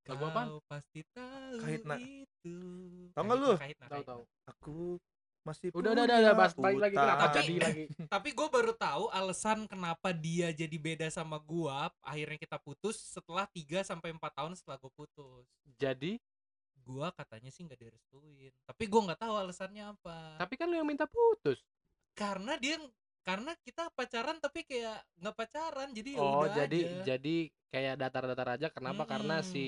Lagu apaan?
Kau pasti tahu
Kaitna.
itu.
Tau nggak
Kaitna,
lu?
Kaitna,
Tahu
Kaitna.
*laughs*
tahu.
aku masih
Udah udah udah, udah bahas balik lagi kenapa
Tapi-
jadi lagi.
Tapi gue baru tahu alasan kenapa dia jadi beda sama gua. Akhirnya kita putus setelah 3 sampai 4 tahun setelah gue putus.
*laughs* Jadi,
Gua katanya sih nggak direstuin. Tapi gua nggak tahu alasannya apa.
tapi kan lu yang minta putus.
Karena dia karena kita pacaran tapi kayak nggak pacaran jadi ya
Oh,
udah
jadi
aja.
jadi kayak datar-datar aja kenapa? Karena
Mm-mm.
si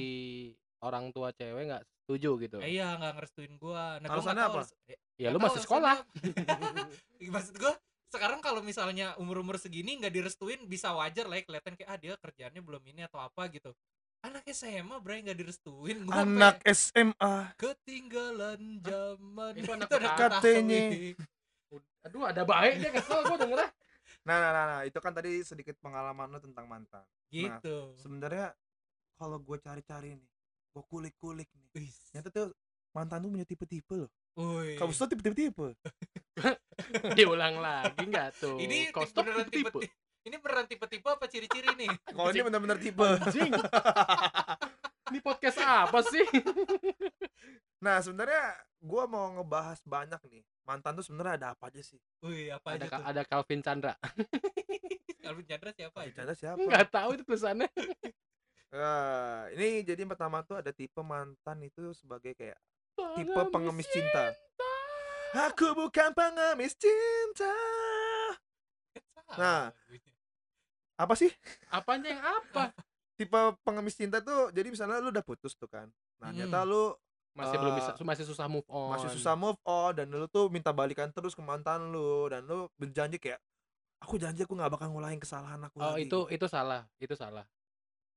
orang tua cewek nggak setuju gitu.
Eh, iya nggak ngerestuin gua. Nah, gua
Alasannya
nggak tahu
apa?
alas- eh,
Ya lu
nggak
masih
tahu
sekolah.
alasannya apa. Maksud gua sekarang kalau misalnya umur-umur segini nggak direstuin bisa wajar lah ya, kelihatan kayak ah dia kerjaannya belum ini atau apa gitu. Anak SMA Bray nggak direstuin gua sampai
anak SMA
ketinggalan zaman.
Itu anak
Kita udah
katanya.
ketahui.
*laughs* Aduh, ada baik dia kesel gua denger. ah.
nah, nah nah nah itu kan tadi sedikit pengalaman lu tentang mantan
Hmm.
Gitu.
Nah, sebenarnya kalau gue cari-cari nih gue kulik-kulik nih
Wis.
ternyata tuh mantan tuh punya tipe-tipe loh
Woi.
kamu
*laughs*
tuh tipe-tipe
*laughs* Diulang lagi enggak tuh.
*laughs* Ini
Kau stop
beneran
tipe.
tipe-tipe. Ini beneran tipe-tipe apa ciri-ciri nih?
kalau ini benar-benar tipe
Anjing. Ini podcast apa *laughs* sih?
*laughs* nah sebenarnya gue mau ngebahas banyak nih mantan tuh sebenarnya ada apa aja sih
Wih, apa
Ada
aja tuh?
ada Calvin *laughs* Chandra.
Calvin Chandra siapa aja?
Bercanda siapa
Enggak tahu itu tulisannya.
Eh, ini jadi yang pertama tuh ada tipe mantan itu sebagai kayak tipe pengemis cinta. Aku bukan pengemis cinta. Nah. Apa sih?
Apanya yang *laughs* apa?
Tipe pengemis cinta tuh jadi misalnya lu udah putus tuh kan. Nah, ternyata
Hmm.
lu
Masih belum
Eh,
bisa masih susah move on.
masih susah move on dan lu tuh minta balikan terus ke mantan lu dan lu berjanji kayak aku janji aku nggak bakal ngulangin kesalahan aku
Oh,
lagi."
itu itu salah, itu salah.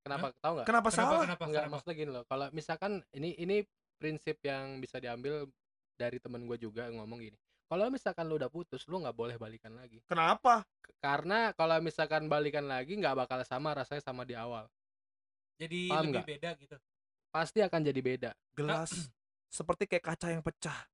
Kenapa? Tahu nggak?
Kenapa, salah?
kenapa,
Enggak,
kenapa?
maksudnya gini loh. Kalau misalkan ini ini prinsip yang bisa diambil dari temen gue juga ngomong gini. Kalau misalkan lu udah putus, lu nggak boleh balikan lagi.
Kenapa?
K- Karena kalau misalkan balikan lagi nggak bakal sama rasanya sama di awal.
jadi
Paham
lebih
nggak?
beda gitu
Pasti akan jadi beda.
Gelas seperti kayak kaca yang pecah,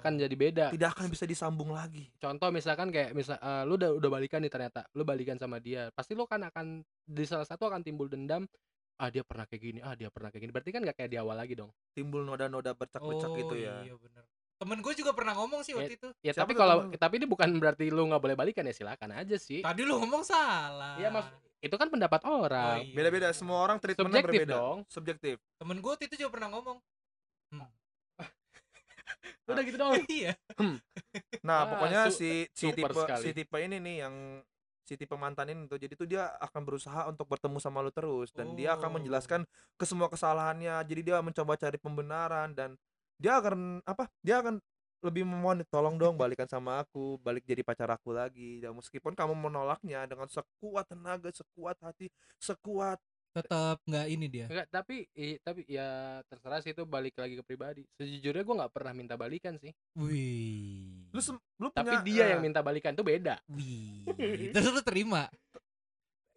Oh.
akan jadi beda.
tidak akan bisa disambung lagi.
Contoh misalkan kayak misal eh, lu udah udah balikan nih ternyata, lu balikan sama dia. Pasti lu kan akan di salah satu akan timbul dendam. Ah dia pernah kayak gini, ah dia pernah kayak gini. Berarti kan nggak kayak di awal lagi dong.
Timbul noda-noda bercak-bercak
oh
gitu ya. Eh,
iya bener temen gue juga pernah ngomong sih waktu itu
Ya
Siapa
tapi
tuh
kalau
temen lu?
tapi ini bukan berarti lu nggak boleh balikan ya silakan aja sih.
tadi lu ngomong salah
Iya, maksud- itu kan pendapat
Oh,
orang.
iya.
Nah, Beda-beda, semua orang treatmentnya
Subjektif
berbeda.
dong.
Subjektif.
temen gue waktu itu juga pernah ngomong
Ya
Udah gitu
Oh.
dong.
*laughs* iya
Nah,
Wah,
pokoknya
Ah, su-
si si
super
tipe
sekali.
si tipe ini nih yang si tipe mantan ini tuh. Jadi tuh dia akan berusaha untuk bertemu sama lu terus dan dia
Oh.
akan menjelaskan ke semua kesalahannya. Jadi dia mencoba cari pembenaran dan dia akan apa? Dia akan lebih memohon tolong dong balikan sama aku, balik jadi pacar aku lagi. Dan meskipun kamu menolaknya dengan sekuat tenaga, sekuat hati, sekuat
tetap nggak ini dia
*laughs* Enggak, tapi i- tapi ya terserah sih itu balik lagi ke pribadi. Sejujurnya gua nggak pernah minta balikan sih.
wih
lu sem- lu
Tapi
punya
dia
eh,
yang minta balikan tuh beda.
*laughs*
wih terus lu terima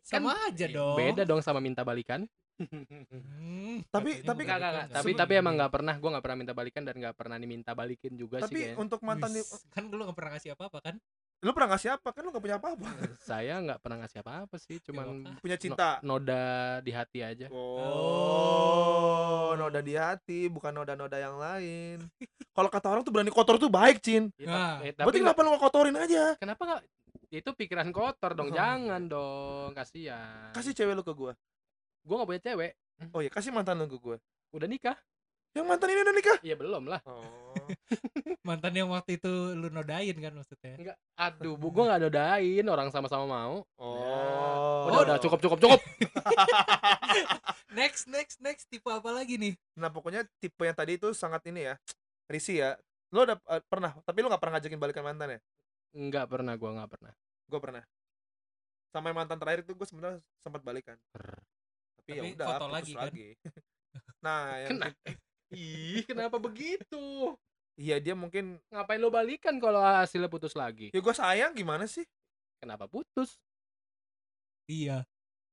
sama
Kan Iya
aja dong
Iya, Beda dong sama minta
*laughs*
balikan.
Hmm, katanya
Tapi- tapi-
bukan
Enggak, enggak, enggak.
bukan.
Tapi
Sebelum-
tapi emang nggak pernah gua nggak pernah minta balikan dan nggak pernah diminta balikin juga sih
tapi oh.
kayaknya.
untuk mantan
Wis,
di-
kan lu nggak pernah ngasih apa-apa kan
lu pernah ngasih apa? Kan lu gak punya apa-apa.
Saya nggak pernah ngasih apa-apa
Ya
sih, cuman
makanya.
Punya cinta.
noda di hati aja.
Oh, noda di hati, bukan noda-noda yang lain. Kalau kata orang tuh berani kotor tuh baik, Cin.
Ya,
Nah,
ta- eh,
Berarti
nggak- Nah.
kenapa lu gak kotorin aja?
kenapa nggak itu pikiran kotor dong
Oh.
jangan dong kasihan
Kasih cewek lu ke gua.
gue nggak punya cewek
Oh iya, kasih mantan lu ke gua.
udah nikah
Yang mantan ini udah nikah.
ya belum lah
Oh.
mantan yang waktu itu lu nodain kan maksudnya
Enggak. aduh bu gue nggak nodain orang sama-sama mau
Oh.
udah udah cukup cukup cukup
next next next tipe apa lagi nih
Nah, pokoknya tipe yang tadi itu sangat ini ya. Risi ya. Lu udah eh, pernah, tapi lu gak pernah ngajakin balikan mantan ya?
nggak pernah gue nggak pernah
Gua pernah. Sama yang mantan terakhir itu gua sebenarnya sempat balikan. Tapi, ya
Tapi
udah,
foto
putus
lagi kan?
*laughs* nah, yang
Kena. ih kenapa begitu
iya dia mungkin
ngapain lo balikan kalau hasilnya putus lagi
ya gua sayang gimana sih?
kenapa putus
iya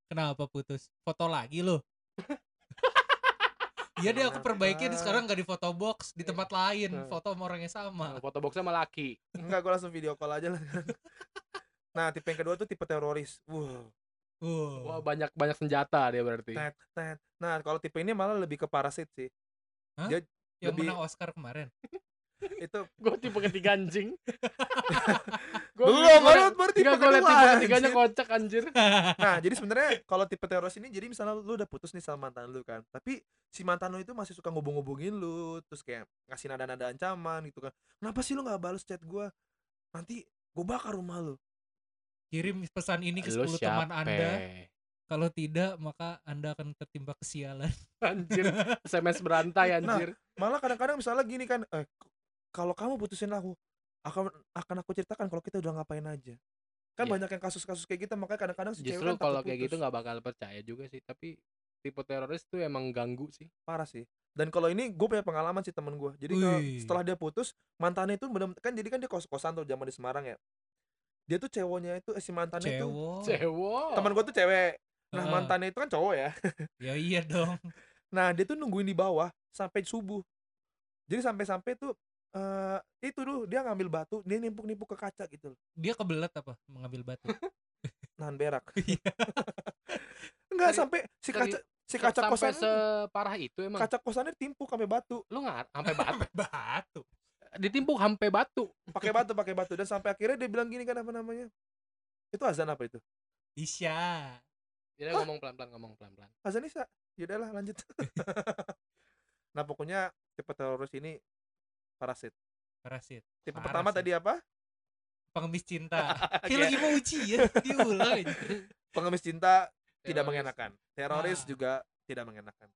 kenapa putus foto lagi lu Iya deh aku
Kenapa?
perbaiki di sekarang nggak di foto box di tempat lain
Eh.
foto sama orangnya sama.
foto box sama laki
Enggak, gue langsung video call aja lah. *laughs* nah, tipe yang kedua tuh tipe teroris. Wow.
wah
Wow.
banyak banyak senjata dia berarti
Tet, tet. Nah, kalau tipe ini malah lebih ke parasit sih.
Yang
lebih-
menang Oscar kemarin.
Itu
gue tipe ketiga
*laughs*
anjing Gua-
belum,
gua-
baru baru tipe
Enggak gue liat
kedua,
tipe ketiganya
anjir.
kocak anjir
Nah, jadi sebenarnya kalau tipe teroris ini jadi misalnya lu udah putus nih sama mantan lu kan, tapi si mantan lu itu masih suka ngubung-ngubungin lu, terus kayak ngasih nada-nada ancaman gitu kan. Kenapa sih lu nggak balas chat gua? Nanti gue bakar rumah lu.
*laughs* Kirim pesan ini ke
Lu
10 teman
siapa?
Anda. Kalau tidak maka Anda akan tertimpa kesialan.
Anjir SMS berantai
Nah,
anjir
Malah kadang-kadang misalnya gini kan, eh k- kalau kamu putusin aku, akan akan aku ceritakan kalau kita udah ngapain aja. Kan
Iya.
banyak yang kasus-kasus kayak gitu, makanya kadang-kadang si cewek
Justru
kan takut
kalau kayak gitu
putus.
nggak bakal percaya juga sih Tapi tipe teroris tuh emang ganggu sih
parah sih dan kalau ini gue punya pengalaman sih temen gue jadi kalau
Wih.
setelah dia putus mantannya itu benar kan jadi kan dia kos kosan tuh zaman di Semarang ya dia tuh ceweknya itu eh, si mantannya tuh
*laughs*
Oh.
Cewek.
Cewek
teman gue tuh cewek nah
Ah.
mantannya itu kan cowok ya
Ya iya dong.
nah dia tuh nungguin di bawah sampai subuh jadi sampai-sampai tuh eh itu dulu dia ngambil batu dia nimpuk-nimpuk ke kaca gitu loh
Dia kebelet apa mengambil batu?
nahan berak
Iya.
enggak
Seri-
sampai si
seri-
kaca si kaca
Sampai
kosan
separah itu emang
kaca kosannya timpuk sampai batu
Lu nggak *laughs* sampai batu
batu.
Ditimpuk sampai batu
pakai batu pakai batu dan sampai akhirnya dia bilang gini kan apa namanya itu azan apa itu
Isya.
Dia ngomong pelan-pelan, ngomong pelan-pelan.
Azanisa yaudahlah Ya
*laughs*
lanjut nah pokoknya tipe teroris ini parasit
Parasit.
tipe
Parah
pertama
sih.
tadi
*laughs*
apa
Pengemis
*laughs*
cinta. Kayak
Kayak
lagi mau ujian, diulang aja.
pengemis cinta tidak
Teroris.
mengenakan teroris
Ah.
juga tidak mengenakan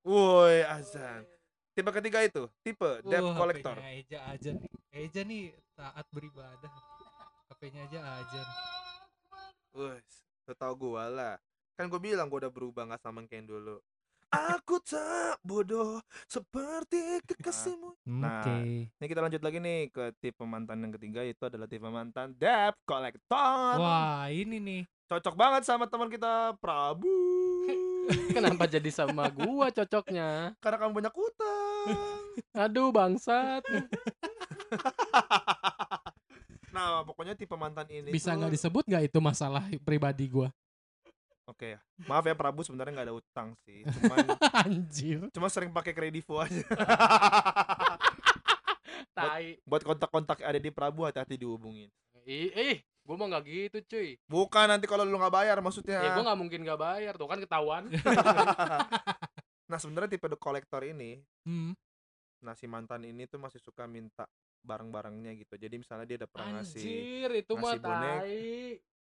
woi azan tipe ketiga itu tipe debt
Wah,
collector
HP-nya Eja aja nih. Eja nih taat beribadah. HP-nya aja aja.
Woi, tau gua lah. Kan gua bilang gua udah berubah nggak sama kayak yang dulu. Aku tak bodoh seperti kekasihmu. Nah. Ini kita lanjut lagi nih ke tipe mantan yang ketiga itu adalah tipe mantan debt collector.
Wah, ini nih.
*laughs* Cocok banget sama teman kita Prabu.
Kenapa jadi sama gua cocoknya?
*laughs* Karena kamu banyak utang.
Aduh bangsat.
nah, pokoknya tipe mantan ini
Bisa
tuh-
nggak disebut nggak itu masalah pribadi gua?
Oke ya. Maaf ya Prabu sebenarnya nggak ada utang
*laughs*
sih. Cuman
Anjir.
cuma sering pakai kredivo
*laughs*
aja.
Tai.
Buat kontak-kontak ada di Prabu hati-hati dihubungin.
Ih, ih, gua mau nggak gitu cuy.
Bukan nanti kalau lu nggak bayar maksudnya.
Ya
*laughs*
gua nggak mungkin nggak bayar tuh kan ketahuan.
Nah sebenarnya tipe the collector ini,
Hmm.
nah si mantan ini tuh masih suka minta barang-barangnya gitu. Jadi misalnya dia ada pernah ngasih
Anjir itu mah
ngasih bonek.
tai.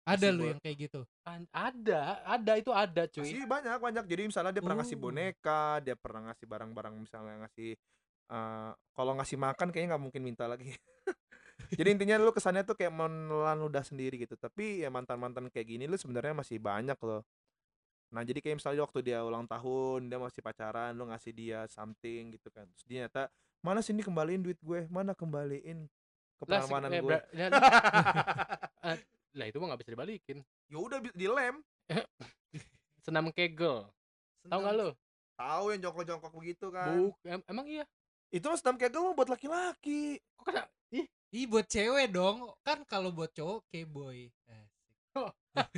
Ada
Masih
lu
gua-
yang kayak gitu.
An- ada, ada itu ada cuy.
Masih iya, banyak banyak. Jadi misalnya dia pernah ngasih
Oh.
boneka, dia pernah ngasih barang-barang misalnya ngasih eh kalau ngasih makan kayaknya nggak mungkin minta lagi. *laughs* Jadi intinya lu kesannya tuh kayak menelan ludah sendiri gitu. Tapi ya mantan-mantan kayak gini lu sebenarnya masih banyak loh. Nah jadi kayak misalnya waktu dia ulang tahun dia masih pacaran lu ngasih dia something gitu kan. Terus dia nyata mana sini kembaliin duit gue, mana kembaliin ke
Lah, se-
perlawanan
eh,
gue. *laughs*
ber- ya, lah itu mah nggak bisa dibalikin.
ya udah bi- dilem.
Senam kegel. Tahu nggak lu?
Tahu yang jongkok-jongkok begitu kan.
Buk, em- emang iya.
Itu mah senam kegel mah buat laki-laki.
Kok kena?
Ih, buat cewek dong. Kan kalau buat cowok keboy. Eh, *laughs*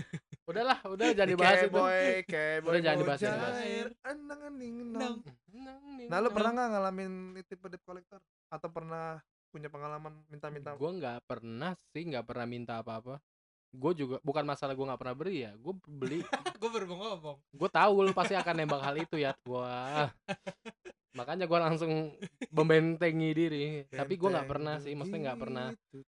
Udahlah,
*laughs*
udah jangan
Di
dibahas itu. *laughs*
keboy, keboy
Udah jangan
mau
dibahas, jangan
dibahas.
jair, anang-aning, nong.
Nong.
Nah lu pernah nggak ngalamin tipe debt collector? Atau pernah punya pengalaman minta-minta?
Gue nggak pernah sih, nggak pernah minta apa-apa. Gue juga bukan masalah gue nggak pernah beri ya. Gue beli,
gue baru mau ngomong.
gue tahu lu pasti akan nembak hal itu ya.
*laughs*
Wah, makanya gue langsung membentengi diri. Tapi gue nggak
Benteng
pernah sih, maksudnya nggak pernah
begitu gitu,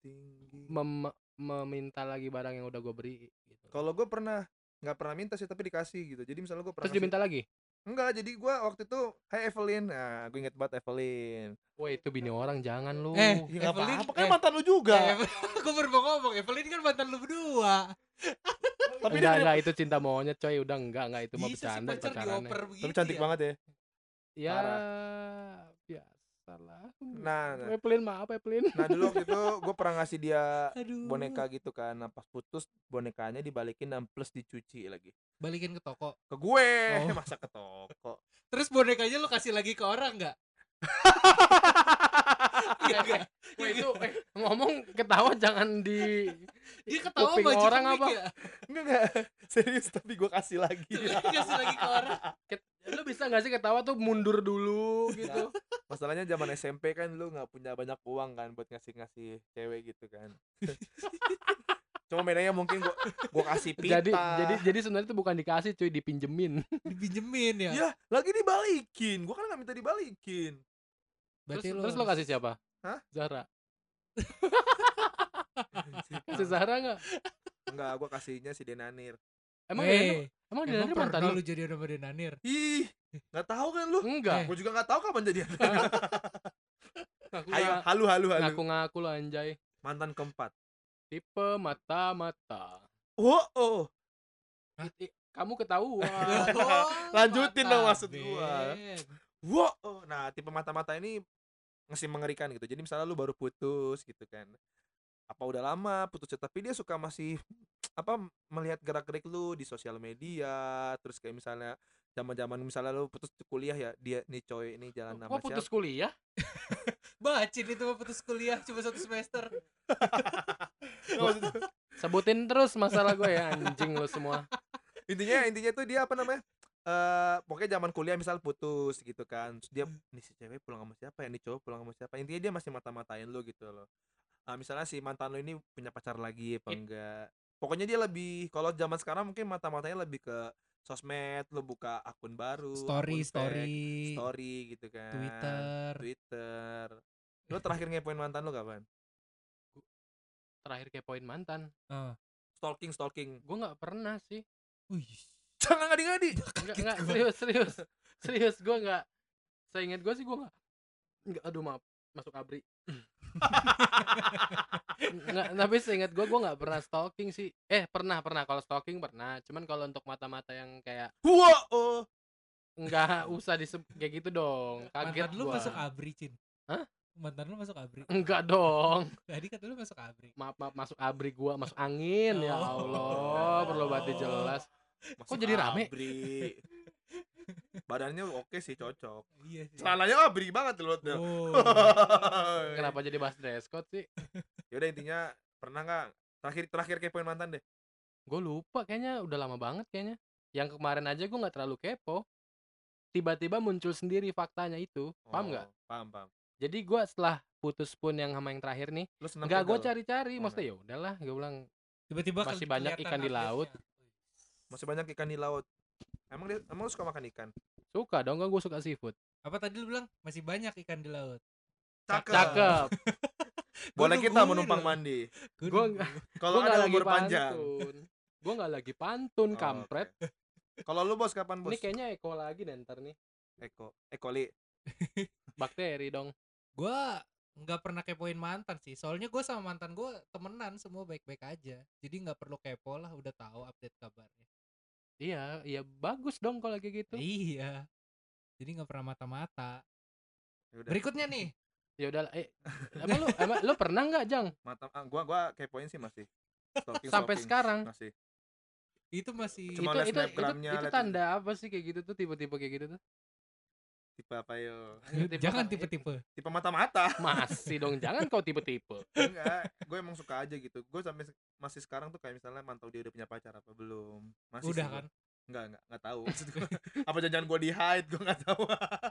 tinggi.
mem- meminta lagi barang yang udah gue beri. Gitu.
Kalau gue pernah nggak pernah minta sih tapi dikasih gitu. Jadi misalnya gue pernah
Terus diminta lagi.
ngasih- Enggak, jadi gue waktu itu Hai Evelyn Nah gue inget banget Evelyn
Wah itu bini orang jangan lu.
Eh,
Ya nggak
Evelyn,
apa-apa kan
eh.
mantan lu juga
*laughs* gue baru mau ngomong. Evelyn kan mantan lu berdua.
Tapi dia
enggak
punya-
enggak itu cinta monyet coy, udah enggak enggak itu mah
Bisa sih
bercanda
pacar
pacarannya.
dioper begitu
Tapi cantik
Iya.
ya.
banget ya
Ya
Parah.
biasalah.
Nah, nah.
Eplin maaf Eplin.
Nah dulu waktu itu gue pernah ngasih dia
Aduh.
boneka gitu kan Nah pas putus bonekanya dibalikin dan plus dicuci lagi
Balikin ke toko.
Ke gue *laughs*
Oh.
Masa ke toko
Terus bonekanya lu kasih lagi ke orang
*laughs*
nggak? Iya nggak?
Wah itu eh, ngomong ketawa jangan di
Dia ketawa
kuping
bajukan
orang
mic
apa?
ya?
Enggak enggak *laughs* Serius tapi gue kasih lagi
Iya.
kasih Iya lagi ke
*laughs*
orang.
lu bisa enggak sih ketawa tuh mundur dulu gitu.
Masalahnya zaman SMP kan lu nggak punya banyak uang kan Buat ngasih-ngasih cewek gitu kan *laughs* Cuma bedanya mungkin gue gua kasih pita
jadi jadi jadi sebenarnya itu bukan dikasih cuy, dipinjemin.
Dipinjemin
Iya.
ya.
Ya lagi dibalikin Gue kan nggak minta dibalikin
Berarti Ah.
terus terus lo
harus-
kasih siapa?
Hah?
Zahra.
*laughs*
Kasih Zahra enggak?
Enggak gue kasihnya si Denanir
Emang
Hey,
hey, emang dia
Eh, emang
mantan
pernah lu
lu?
jadi sama Denanir?
Ih nggak tahu kan lu
eh.
Enggak.
Gue juga nggak tahu kapan *laughs* jadian
Ngaku-
Ayo halu halu halu
Ngaku-ngaku lo anjay.
Mantan keempat
Tipe mata-mata.
Oh, oh.
Ih, Kamu
*laughs*
ketahuan.
Oh,
Lanjutin dong maksud
mantan.
gua. Wow. Nah, tipe mata-mata ini ngasih mengerikan gitu. Jadi misalnya lu baru putus gitu kan. Apa udah lama putusnya tapi dia suka masih apa melihat gerak-gerik lu di sosial media, terus kayak misalnya zaman-zaman misalnya lu putus kuliah ya, dia nih coy ini jalan
Kok
sama
Oh, putus *laughs*
siapa.
kuliah?
Bacin itu mah putus kuliah cuma satu semester.
Nggak, maksud-
Sebutin terus masalah gue ya anjing lo semua.
intinya intinya tuh dia apa namanya eh pokoknya zaman kuliah misal putus gitu kan Terus
Hmm.
dia nih si cewek pulang sama siapa ya nih cowok pulang sama siapa intinya
Iya.
dia masih mata-matain lu gitu loh Ah, misalnya si mantan lo ini punya pacar lagi apa
Eh.
enggak pokoknya dia lebih kalau zaman sekarang mungkin mata-matanya lebih ke sosmed lu buka akun baru
story
akun fake,
story
story gitu kan
Twitter
Twitter
*laughs*
lu terakhir ngepoin mantan lu kapan
terakhir kepoin mantan
Heeh.
stalking stalking
gue nggak pernah sih
Wih.
jangan ngadi-ngadi
Enggak,
Kaget
enggak,
gua.
serius, serius. Serius, gue enggak. Seingat gue sih gue enggak. Enggak, aduh maaf. Masuk abri. enggak, tapi seingat gue, gue enggak pernah stalking sih. Eh, pernah, pernah. Kalau stalking pernah. Cuman kalau untuk mata-mata yang kayak
Wah, oh
*laughs*
enggak usah diseb kayak gitu dong. Kaget
mantan lu
gua.
masuk abri cin
Hah?
mantan lu masuk abri
Enggak dong.
tadi kata lu masuk abri
Maaf, maaf, masuk abri gua, masuk angin. Ya
Oh.
Allah, perlu batin
*laughs*
jelas.
Masuk
jadi rame?
abri. badannya oke sih cocok
iya sih
celananya abri banget lu tuh
Wow.
Kenapa jadi bahas dress code sih?
Yaudah intinya pernah nggak terakhir terakhir kepoin mantan deh.
Gue lupa kayaknya udah lama banget kayaknya. Yang kemarin aja gue nggak terlalu kepo. Tiba-tiba muncul sendiri faktanya itu. Paham nggak?
Oh, Paham paham.
Jadi gue setelah putus pun yang sama yang terakhir nih,
Lu senang
nggak gue
gagal?
cari-cari.
Oh,
Maksudnya ya udahlah, gue bilang
tiba-tiba
Masih
keli-
banyak
kelihatan
ikan di
update-nya.
laut.
Masih banyak ikan di laut. Emang dia emang lu suka makan ikan?
suka dong gue suka seafood.
apa tadi lu bilang masih banyak ikan di laut
Cakep.
Cakep.
*laughs*
Boleh
Gua
kita
nungguin
menumpang
loh.
mandi.
Gua
Gua
nungguin.
Kalau
Gua nggak
ada
lagi
umur panjang.
pantun. Gue nggak lagi pantun
Oh,
kampret.
oke. Kalau lu bos kapan bos?
Ini kayaknya Eko lagi dan ntar nih
Eko. Eko Li.
bakteri dong.
gue nggak pernah kepoin mantan sih soalnya gue sama mantan gue temenan semua baik-baik aja jadi nggak perlu kepo lah udah tahu update kabarnya
Iya, iya bagus dong kalau kayak gitu.
iya jadi nggak pernah mata-mata
Yaudah.
berikutnya nih
Ya udahlah.
*laughs*
Eh, emang lu, emang lu pernah nggak jang
Mata ah, gua gua kepoin sih masih. Stalking,
sampai
stalking.
sekarang?
Masih.
itu masih
Cuma-
itu
liat
itu itu,
snapgramnya,
itu
liat itu.
tanda apa sih kayak gitu tuh tipe-tipe kayak
*laughs*
gitu tuh
Tipe apa yo?
jangan
apa-
tipe-tipe
Tipe mata-mata.
*laughs* masih dong jangan kau tipe-tipe
Enggak, gue emang suka aja gitu. Gue sampai se- masih sekarang tuh kayak misalnya mantau dia udah punya pacar apa belum. Masih
udah
sih gua.
kan *laughs*
Enggak, enggak, enggak tahu. Maksud gue, *laughs* apa jangan gue di hide, gue enggak tahu. *laughs*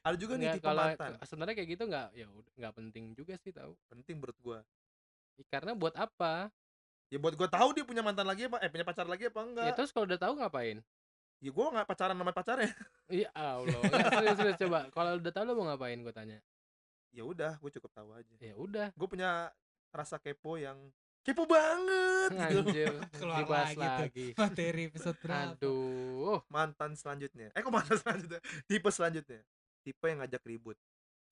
Ada juga nih
Nggak,
tipe
kalau
mantan.
sebenarnya kayak gitu nggak ya udah, nggak penting juga sih tahu
Penting menurut gue.
Ya, karena buat apa
Ya buat gue tahu dia punya mantan lagi apa, eh punya pacar lagi apa enggak.
ya terus kalau udah tahu ngapain
Ya, gue enggak pacaran sama pacarnya. *laughs*
Iya Allah, nggak serius, serius coba. Kalau udah tahu lo mau ngapain gue tanya.
Ya udah, gue cukup tahu aja.
Ya udah,
Gue punya rasa kepo yang kepo banget gitu.
anjir.
*laughs* Keluar
dibahas
lagi tuh.
lagi.
materi episode berapa
Aduh.
*laughs* Mantan selanjutnya. Eh kok mantan *laughs* selanjutnya? Tipe selanjutnya. Tipe yang ngajak ribut.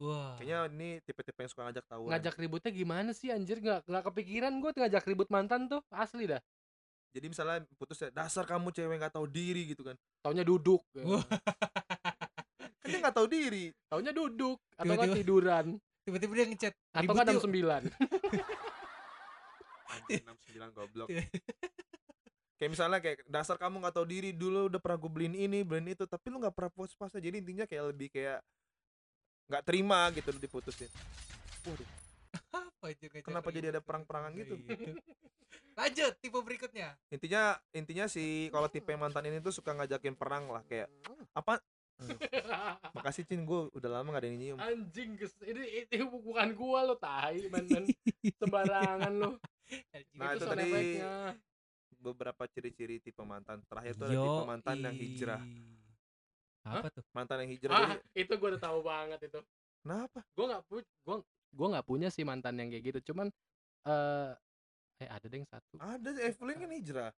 wah
Kayaknya ini tipe-tipe yang suka ngajak tawuran.
Ah. Ngajak ributnya gimana sih anjir? Nggak nggak kepikiran gue ngajak ribut mantan tuh, asli dah.
Jadi misalnya putus ya, dasar kamu cewek nggak tahu diri gitu kan.
Taunya duduk. gitu.
Wah.
Kan dia nggak tahu diri.
Taunya duduk atau nggak
Tiba-tiba-
tiduran
tiba-tiba dia ngechat
atau
Ribut
nggak
yuk.
jam sembilan.
Anjing, 69 goblok. Iya.
*laughs*
kayak misalnya kayak dasar kamu nggak tahu diri dulu udah pernah gue beliin ini beliin itu tapi lu nggak pernah puas puasnya jadi intinya kayak lebih kayak nggak terima gitu lu diputusin
Apa aja ngajak
Kenapa jadi
ribut
ada perang-perangan gitu?
lanjut tipe berikutnya
intinya intinya si kalau tipe mantan ini tuh suka ngajakin perang lah *laughs*
*laughs*
kayak apa makasih cin gue udah lama gak ada yang nyium
Anjing, kes- ini itu bukan gua lo tai men-men. sembarangan *laughs* lo.
*laughs* Nah, itu
sound
tadi
effect-nya.
beberapa ciri-ciri tipe mantan terakhir tuh ada tipe mantan yang
Yoi.
hijrah
apa tuh
mantan yang hijrah
Ah,
jadi
itu gua udah tahu banget itu.
kenapa
Gua nggak pu gua gua nggak punya sih mantan yang kayak gitu, cuman eh eh ada deh yang satu.
ada Evelyn kan hijrah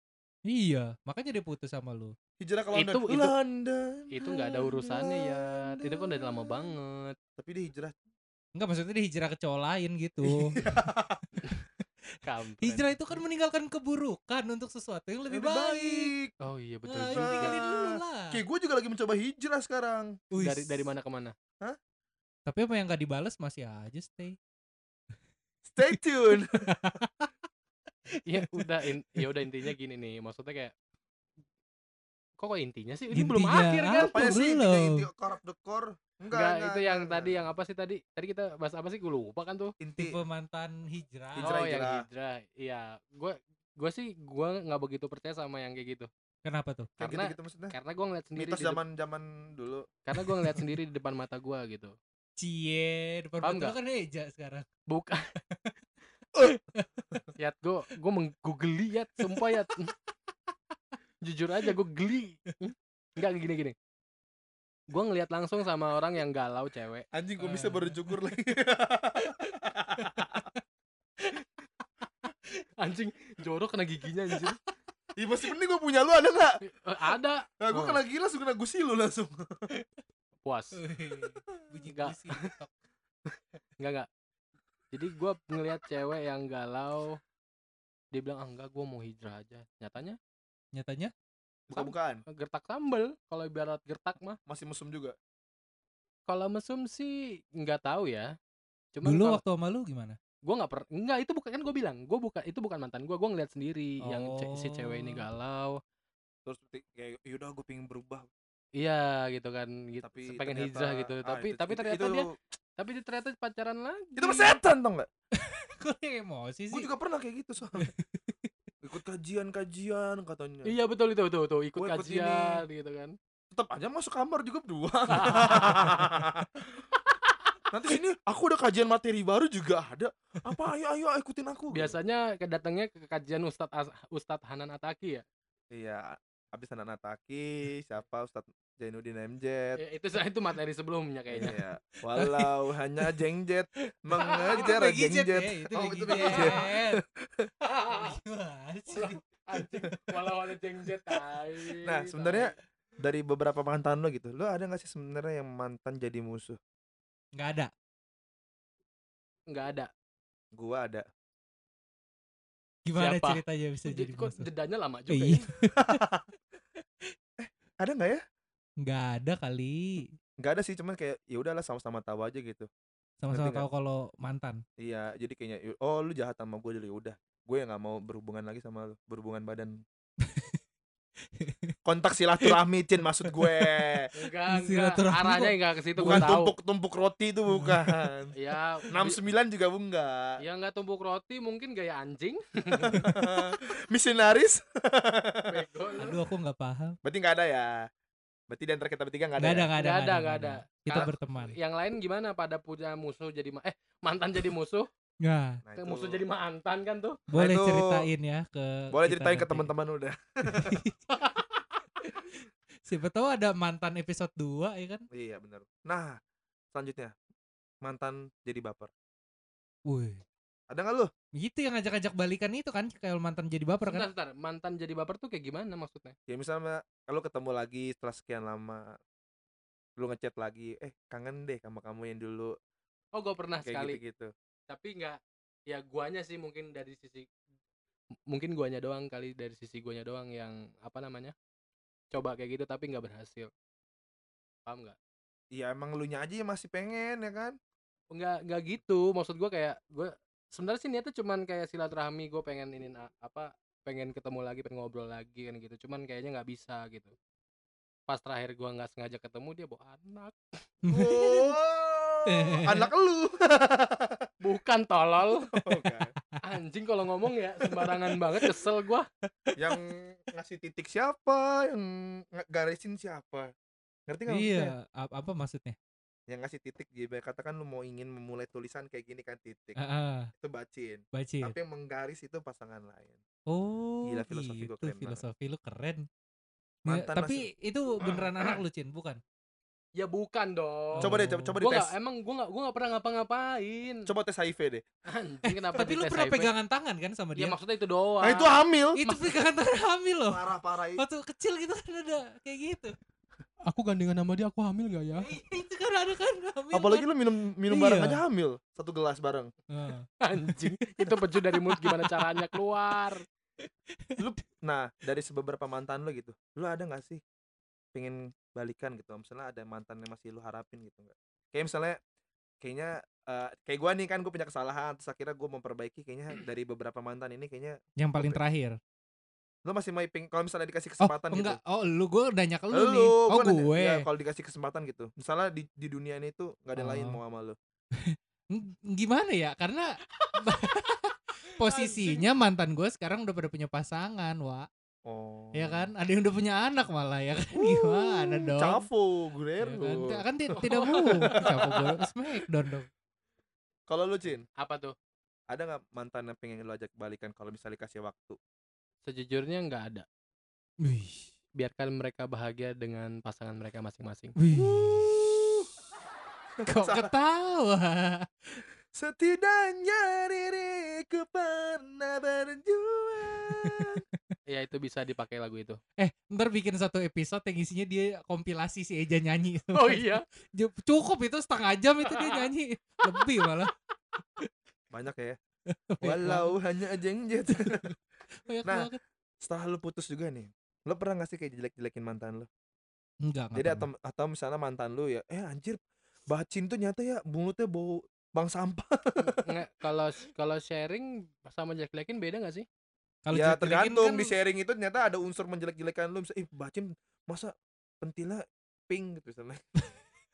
iya makanya dia putus sama lu
hijrah ke London
Itu- itu-
London,
Itu nggak ada urusannya ya. Itu kan udah lama
London.
banget.
tapi dia hijrah
Enggak maksudnya dia hijrah ke cowok lain
Iya,
*laughs* gitu.
Kampret.
hijrah itu kan meninggalkan keburukan untuk sesuatu yang lebih, baik.
Oh iya betul
Nah,
juga.
ini tinggalin dulu lah.
Kayak gue juga lagi mencoba hijrah sekarang.
Wih,
Dari dari mana ke mana?
Tapi apa yang gak dibales masih aja stay.
Stay tune.
*laughs*
*laughs*
ya udah in- ya udah intinya gini nih maksudnya kayak kok kok intinya sih ini belum
Intinya
akhir kan
apa?
*laughs*
Apanya sih intinya
belum.
inti core of the core? Enggak,
Enggak,
enggak,
itu yang
enggak,
tadi
enggak.
yang apa sih tadi tadi kita bahas apa sih gue lupa kan tuh
inti
Tipe mantan hijrah.
Hijrah,
oh yang
hijrah.
hijrah iya gue gue sih gue nggak begitu percaya sama yang kayak gitu
Kenapa tuh?
kayak
karena- gitu.
gitu-gitu gitu maksudnya.
karena gue ngeliat sendiri
Mitos
di dep-
zaman-zaman dulu.
karena gue ngeliat sendiri di depan mata gue gitu
Cie, depan
Paham
mata lu
nggak? *laughs*
kan Eja sekarang.
bukan Yat gue gue menggugeli Yat sumpah Yat jujur aja gue geli nggak gini gini gue ngelihat langsung sama orang yang galau cewek
Anjing
gua
gue
bisa
bisa
baru
berjukur *laughs* lagi.
anjing jorok kena giginya anjing
Ih Ya, masih mending gue punya lu ada nggak?
Eh, ada
Nah, gue
Oh.
kena gila langsung kena gusi lu langsung.
puas
bunyi
Nggak.
gusi tok.
Enggak enggak. Jadi gua ngelihat cewek yang galau dia bilang ah enggak gua mau hijrah aja. Nyatanya eh,
nyatanya
Buka-bukaan.
gertak sambel kalau ibarat gertak mah.
Masih mesum juga.
Kalau mesum sih enggak tahu ya. Cuman
dulu
kalau-
waktu sama lu gimana *laughs*
gua nggak pernah enggak itu bukan kan gua bilang gua bukan itu bukan mantan gua gua ngeliat sendiri yang ce- si cewek ini
Oh.
galau
Terus ti- kayak yaudah gue pengen berubah.
iya gitu kan gitu
Tapi
pengen
ternyata-
hijrah gitu
ah,
tapi
itu-
tapi
itu-
ternyata
itu,
dia tapi dia ternyata pacaran lagi
itu persetan tau nggak?
kok dia emosi sih
Gue juga pernah kayak gitu
*laughs*
soalnya. Ikut kajian-kajian katanya.
iya betul itu betul betul ikut
Gua ikut ini.
kajian gitu kan
tetap aja masuk kamar juga
*laughs*
berdua. Nanti sini aku udah kajian materi baru juga ada. Apa ayo ayo ikutin aku.
biasanya ke- datangnya ke kajian Ustadz As- Ustadz Hanan Ataki ya
Iya, habis anak Nataki, siapa Ustadz Zainuddin MZ.
Eh, itu itu materi sebelumnya
*laughs*
kayaknya
Iya.
*laughs*
Walau hanya jengjet
itu
mengejar
Peggy Jet ya,
jengjet.
itu
Oh,
Peggy
itu Peggy Jet.
*laughs* Jet.
Iya.
Gimana sih?
Anjing, walau ada jengjet tai,
Nah,
tai.
sebenarnya dari beberapa mantan lo gitu, lo ada nggak sih sebenarnya yang mantan jadi musuh?
nggak ada
nggak ada
Gua
*laughs*
ada.
gimana
Siapa?
ceritanya bisa
Kok
jadi
jed- kok
musuh?
jedanya lama
Eh,
juga
iya.
ya?
Ada nggak ya?
nggak ada kali
Nggak ada sih, cuman kayak ya udahlah sama-sama tahu aja gitu.
sama-sama
Ngerti
tahu kalau mantan
Iya, jadi kayaknya "Yu- oh lu jahat sama gue jadi udah. Gue yang nggak mau berhubungan lagi sama lu, berhubungan badan.
*laughs*
Kontak silaturahmi Cin maksud gue.
enggak enggak
Silaturahmi kok.
arahnya enggak ke situ gua
Bukan
tahu
tumpuk-tumpuk roti itu
*laughs*
bukan.
ya
69 juga enggak.
ya nggak tumpuk roti mungkin gaya
*laughs*
anjing
Misionaris?
bego lu.
aduh aku nggak paham
Berarti nggak ada ya. Berarti di antara kita bertiga nggak ada.
nggak ada
ya?
nggak ada
Nggak ada,
nggak
nggak ada.
kita
Karena- iya.
berteman
yang lain gimana pada punya musuh jadi ma- eh mantan jadi musuh
nggak
Nah,
ke
itu-
musuh jadi mantan kan tuh
boleh
itu-
ceritain ya ke
Boleh
kita
ceritain ke
nanti.
teman-teman udah.
siapa tahu ada mantan episode 2 ya kan
Iya, benar. Nah, selanjutnya mantan jadi baper.
Wih.
Ada nggak lu?
Itu yang ngajak-ngajak balikan itu kan kalau mantan jadi baper kan? *laughs*
sebentar, sebentar. mantan jadi baper tuh kayak gimana maksudnya
Ya misalnya kalau ketemu lagi setelah sekian lama lu ngechat lagi, eh kangen deh sama kamu yang dulu
oh gue pernah
kayak
sekali
gitu-gitu.
tapi nggak ya guanya sih mungkin dari sisi m- mungkin guanya doang kali dari sisi guanya doang yang apa namanya coba kayak gitu tapi nggak berhasil paham nggak
Iya emang lu aja yang masih pengen ya kan?
nggak nggak gitu maksud gua kayak gua sebenarnya sih niatnya cuman kayak silaturahmi gue pengen ini nah, apa pengen ketemu lagi pengen ngobrol lagi kan gitu cuman kayaknya nggak bisa gitu pas terakhir gua nggak sengaja ketemu dia bawa anak
Oh, anak lu. *laughs*
bukan tolol
Oh, kan.
anjing kalau ngomong ya sembarangan banget kesel gua
yang ngasih titik siapa, yang nge- garisin siapa? Ngerti nggak? maksudnya?
iya, ap- apa maksudnya?
Yang ngasih titik dia ibarat katakan lu mau ingin memulai tulisan kayak gini kan titik.
Ah, ah,
Itu bacin.
bacin.
Tapi yang menggaris itu pasangan lain.
ya? Oh,
Gila, filosofi gua
gitu,
keren banget.
filosofi lu keren. Ya,
Mantan
tapi
*clears throat*
itu beneran anak lu, Cin, bukan?
ya bukan dong
Coba deh,
Oh.
coba, coba
gua
dites.
nggak emang gua nggak gua nggak pernah ngapa-ngapain
Coba tes HIV deh.
anjing kenapa
tapi lu
dites
pernah
HIV?
pegangan tangan kan sama
ya
dia?
maksudnya itu doang
Nah, itu hamil.
itu pegangan tangan *laughs* hamil loh.
Parah-parah itu.
Waktu kecil gitu kan ada kayak gitu.
Aku gandengan sama dia, aku hamil gak ya?
itu kan ada kan hamil.
Apalagi
kan?
lu minum minum bareng
Iya.
aja hamil. Satu gelas bareng.
Ah.
anjing itu pecu dari mulut gimana caranya keluar
Nah, dari beberapa mantan lu gitu. Lu ada nggak sih pengen balikan gitu? Misalnya ada mantan yang masih lu harapin gitu nggak? Kayak misalnya kayaknya eh, kayak gua nih kan gue punya kesalahan terus akhirnya gue memperbaiki kayaknya dari beberapa mantan ini kayaknya
Yang paling
Oke.
terakhir.
lu masih mau ping kalau misalnya dikasih
Oh,
kesempatan gitu
enggak. Oh, lu gue nanya ke lu,
Elu,
nih. Oh,
gua nanya,
gue.
ya, kalau dikasih kesempatan gitu misalnya di di dunia ini tuh nggak ada lain
Oh.
mau sama lu
Ng- gimana ya
*laughs*
karena *laughs* posisinya mantan gue sekarang udah pada punya pasangan wa
oh
ya kan ada yang udah punya anak malah ya kan *laughs* gimana
Uh,
dong
Chavo
Ya
Guerrero
kan, Ti- kan ti- tidak mungkin siapa gue smackdown dong
kalau lu Cin
apa tuh
ada nggak mantan yang pengen lo ajak balikan kalau misalnya dikasih waktu
Sejujurnya nggak ada.
Wih.
Biarkan mereka bahagia dengan pasangan mereka masing-masing.
Wih. *laughs* Kok ketawa?
setidaknya diriku pernah berjuang
Ya itu bisa dipakai lagu itu.
Eh, ntar bikin satu episode yang isinya dia kompilasi si Eja nyanyi.
Oh
iya.
Ju- Cukup itu setengah jam itu dia nyanyi. Lebih malah.
banyak
*laughs*
ya
Iya, Banyak
walau hanya jengjet
banget, banyak
Nah.
banget.
*laughs* setelah lo putus juga nih lo pernah nggak sih kayak jelek-jelekin mantan lo
Enggak, enggak.
Jadi
pernah.
atau, atau misalnya mantan lu ya, eh anjir, bacin tuh nyata ya mulutnya bau bang sampah.
Nggak, kalau kalau sharing sama jelek-jelekin beda nggak sih?
Kalau
ya
jelek-jelekin
tergantung
kan-
di sharing itu ternyata ada unsur menjelek-jelekan lu, misalnya, ih bacin masa pentilnya pink gitu misalnya.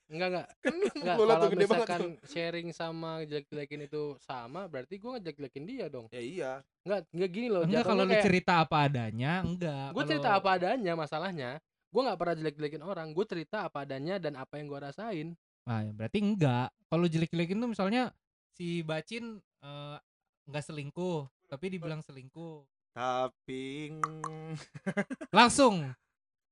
Enggak enggak.
Kan *laughs*
Enggak,
mulut
kalau
tuh gede banget.
misalkan
tuh.
sharing sama jelek-jelekin itu sama, berarti gua ngejelekin dia dong.
Ya iya.
Enggak, enggak gini loh.
Enggak kalau lu
jatuhnya kayak-
cerita apa adanya, enggak.
gue
Kalau-
cerita apa adanya masalahnya gue nggak pernah jelek-jelekin orang gue cerita apa adanya dan apa yang gue rasain
Nah, ya berarti enggak. Kalau jelek-jelekin tuh misalnya si Bacin eh, enggak selingkuh, tapi dibilang selingkuh.
Tapi ng-
Langsung.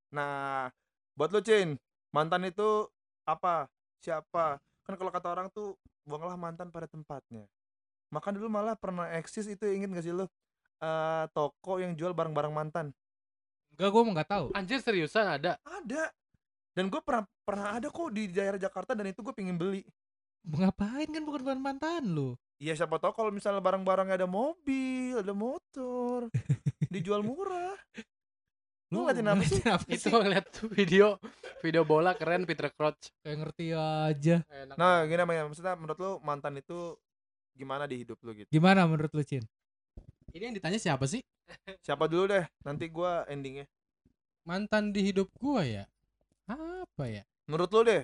nah, buat lu Cin, mantan itu apa? Siapa? Kan kalau kata orang tuh buanglah mantan pada tempatnya. Makan dulu malah pernah eksis itu ingin gak sih lu? Eh, toko yang jual barang-barang mantan.
Enggak, gue mau enggak tahu.
anjir seriusan
*laughs*
ada
ada dan gue pernah pernah ada kok di daerah Jakarta dan itu gue pengen beli
Ngapain kan bukan bukan mantan lu.
Iya siapa tahu kalau misalnya barang-barangnya ada mobil, ada motor, dijual murah.
*laughs*
Lu ngeliatin apa sih?
itu
sih?
ngeliat tuh video video bola keren Peter Crouch
Kayak ngerti aja.
Enak.
Nah, gini namanya, maksudnya menurut lu mantan itu gimana di hidup lu gitu?
Gimana menurut lu, Cin?
ini yang ditanya siapa sih
Siapa dulu deh, nanti gua endingnya.
Mantan di hidup gua ya? Apa ya?
Menurut lu deh,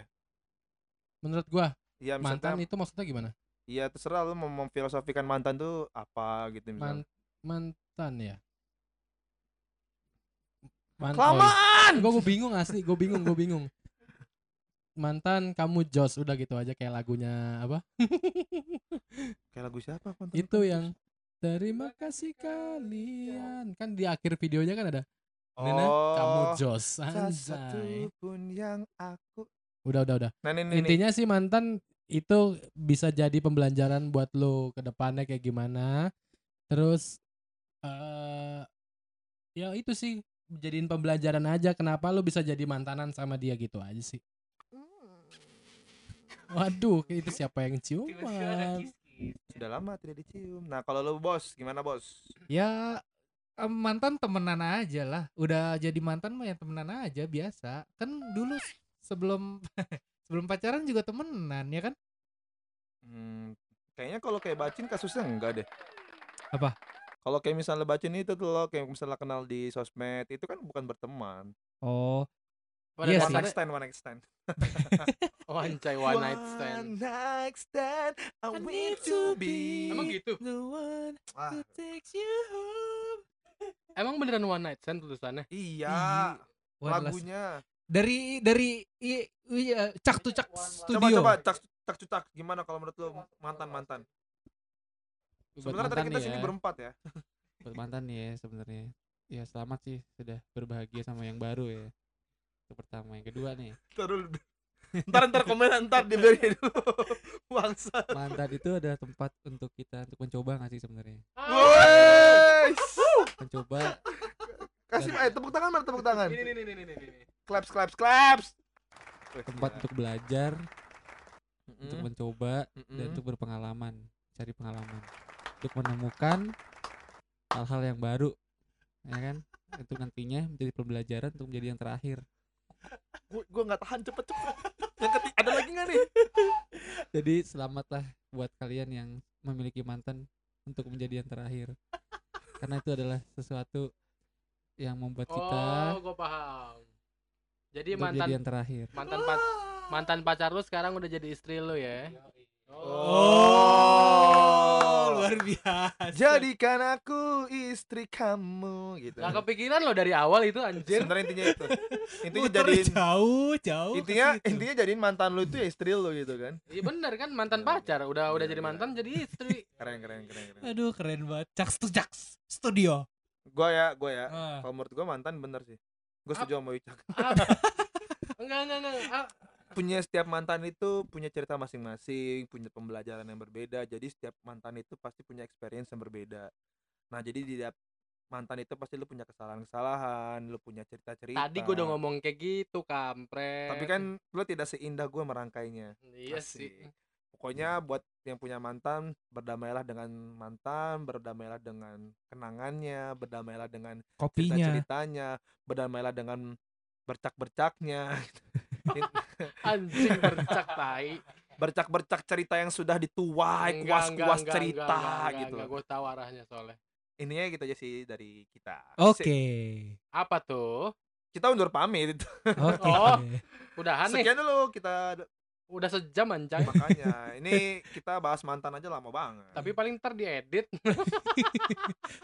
Menurut gua
ya
mantan
misalnya,
itu maksudnya gimana?
ya terserah lu mau memfilosofikan mantan tuh apa gitu misalnya.
Man- mantan ya? Man-
Kelamaan.
gue gue bingung asli gue bingung gue bingung mantan kamu Jos udah gitu aja kayak lagunya apa *laughs*
Kayak lagu siapa mantan?
iya. itu yang terima kasih kalian kan di akhir videonya kan ada Nena kamu
Oh.
Jos anjay
Satu pun yang aku.
udah udah udah
Nah, ini, ini, ini.
intinya sih mantan itu bisa jadi pembelajaran buat lo ke depannya kayak gimana terus eh ya itu sih jadiin pembelajaran aja kenapa lo bisa jadi mantanan sama dia gitu aja sih Waduh, kayak itu siapa yang ciuman?
Sudah lama tidak dicium. Nah, kalau lu bos, gimana bos?
Ya em, mantan temenan aja lah. Udah jadi mantan mah ya temenan aja biasa. Kan dulu s- sebelum *laughs* sebelum pacaran juga temenan ya kan?
Hmm, kayaknya kalau kayak bacin kasusnya enggak deh.
Apa?
Kalau kayak misalnya bacin itu tuh lo kayak misalnya kenal di sosmed itu kan bukan berteman.
Oh,
pada
Iya sih.
one night
dasarnya
stand, one night stand.
wancai one night stand
One night stand,
I
I want to be.
emang gitu
the one
Ah,
who takes you home.
emang beneran one night stand tulisannya
iya,
One last-
lagunya.
dari dari i, i- eh, cak tu cak
Coba
studio.
Iya, coba tak tak cutak gimana kalau menurut lo mantan-mantan?
Buat
Sebenarnya tadi
mantan
kita
nih
sini
ya,
berempat ya.
buat mantan nih ya sebenarnya ya selamat sih sudah berbahagia sama yang baru ya itu pertama yang kedua nih
Ntar dulu. ntar ntar komen ntar diberi dulu. Bangsa.
mantan itu adalah tempat untuk kita untuk mencoba nggak sih sebenarnya
Woi.
mencoba
Kasih eh tepuk tangan mana tepuk tangan?
ini ini ini ini ini
Claps claps claps.
Iya.
tempat untuk belajar untuk mencoba dan untuk berpengalaman cari pengalaman untuk menemukan hal-hal yang baru ya kan untuk nantinya menjadi pembelajaran untuk menjadi yang terakhir
gue gue nggak tahan cepet cepet yang ketiga ada lagi nggak nih
jadi selamatlah buat kalian yang memiliki mantan untuk menjadi yang terakhir karena itu adalah sesuatu yang membuat kita
oh gue paham jadi
untuk
mantan
jadi yang terakhir
mantan pac- mantan pacar lu sekarang udah jadi istri lu ya
oh,
luar luar biasa
Jadikan aku istri kamu gitu.
Gak kepikiran lo dari awal itu anjir.
Sebenarnya intinya
*laughs*
itu. Intinya
Muter
jadiin
jauh jauh ke
intinya
situ.
intinya jadiin mantan lu itu ya istri lu gitu kan.
Iya bener kan mantan pacar, udah udah
Iya,
jadi
iya.
mantan jadi istri.
Keren keren keren keren.
aduh keren banget caks tuh caks studio
Gua ya, gua ya.
Ah.
Kalau menurut gua mantan bener sih. Gua
Ap-
setuju sama Wicak.
Ah. enggak enggak enggak. Ah,
Punya setiap mantan itu punya cerita masing-masing, punya pembelajaran yang berbeda. Jadi setiap mantan itu pasti punya experience yang berbeda. Nah, jadi di tiap mantan itu pasti lu punya kesalahan-kesalahan, lu punya cerita-cerita.
Tadi gue udah ngomong kayak gitu kampret.
Tapi kan lu tidak seindah gua merangkainya.
iya
Asik.
sih.
Pokoknya buat yang punya mantan, berdamailah dengan mantan, berdamailah dengan kenangannya, berdamailah dengan
kopinya
cerita-ceritanya, berdamailah dengan bercak-bercaknya, *laughs*
Anjing bercak tai.
bercak-bercak cerita yang sudah dituai, kuas-kuas cerita gitu.
gue tahu arahnya soalnya.
Ininya gitu aja sih dari kita.
oke
Sip.
Apa tuh?
Kita undur pamit. *laughs*
oke
Oh. Udahan nih.
Sekian dulu kita
Udah sejam anjay.
makanya. Ini kita bahas mantan aja lama banget.
Tapi ya paling ntar diedit.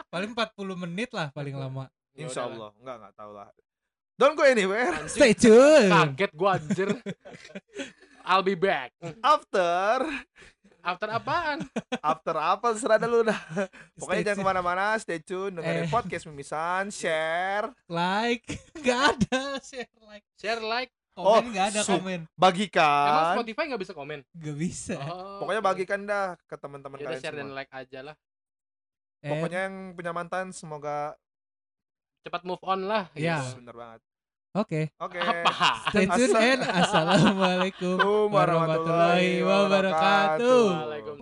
paling 40 menit lah paling lama
Ya
Insya
udahlah.
Allah nggak nggak tahu lah. Don't go anywhere
Anjing,
stay
Nah,
tune
Kaget gue anjir. I'll be back.
after
After apaan?
after apa serada lu dah.
Stay
Pokoknya jangan
tune.
kemana-mana, stay tune, dengerin
Eh.
podcast *laughs* memisan, share,
like *laughs* nggak ada share like
Share like.
komen
Oh,
nggak ada
su-
komen
Emang
bagikan.
Spotify nggak bisa
*laughs*
komen?
nggak bisa
Oh,
Pokoknya
oke.
bagikan dah ke teman-teman
Yaudah
kalian
share dan
semua.
like aja lah.
Eh,
Pokoknya yang punya mantan semoga
Cepat move on lah.
Ya.
gitu.
bener banget.
oke
Iya. Oke.
Apa?
stay tune and assalamualaikum
Assalamualaikum
warahmatullahi
warahmatullahi
wabarakatuh.
wabarakatuh.
Waalaikumsalam.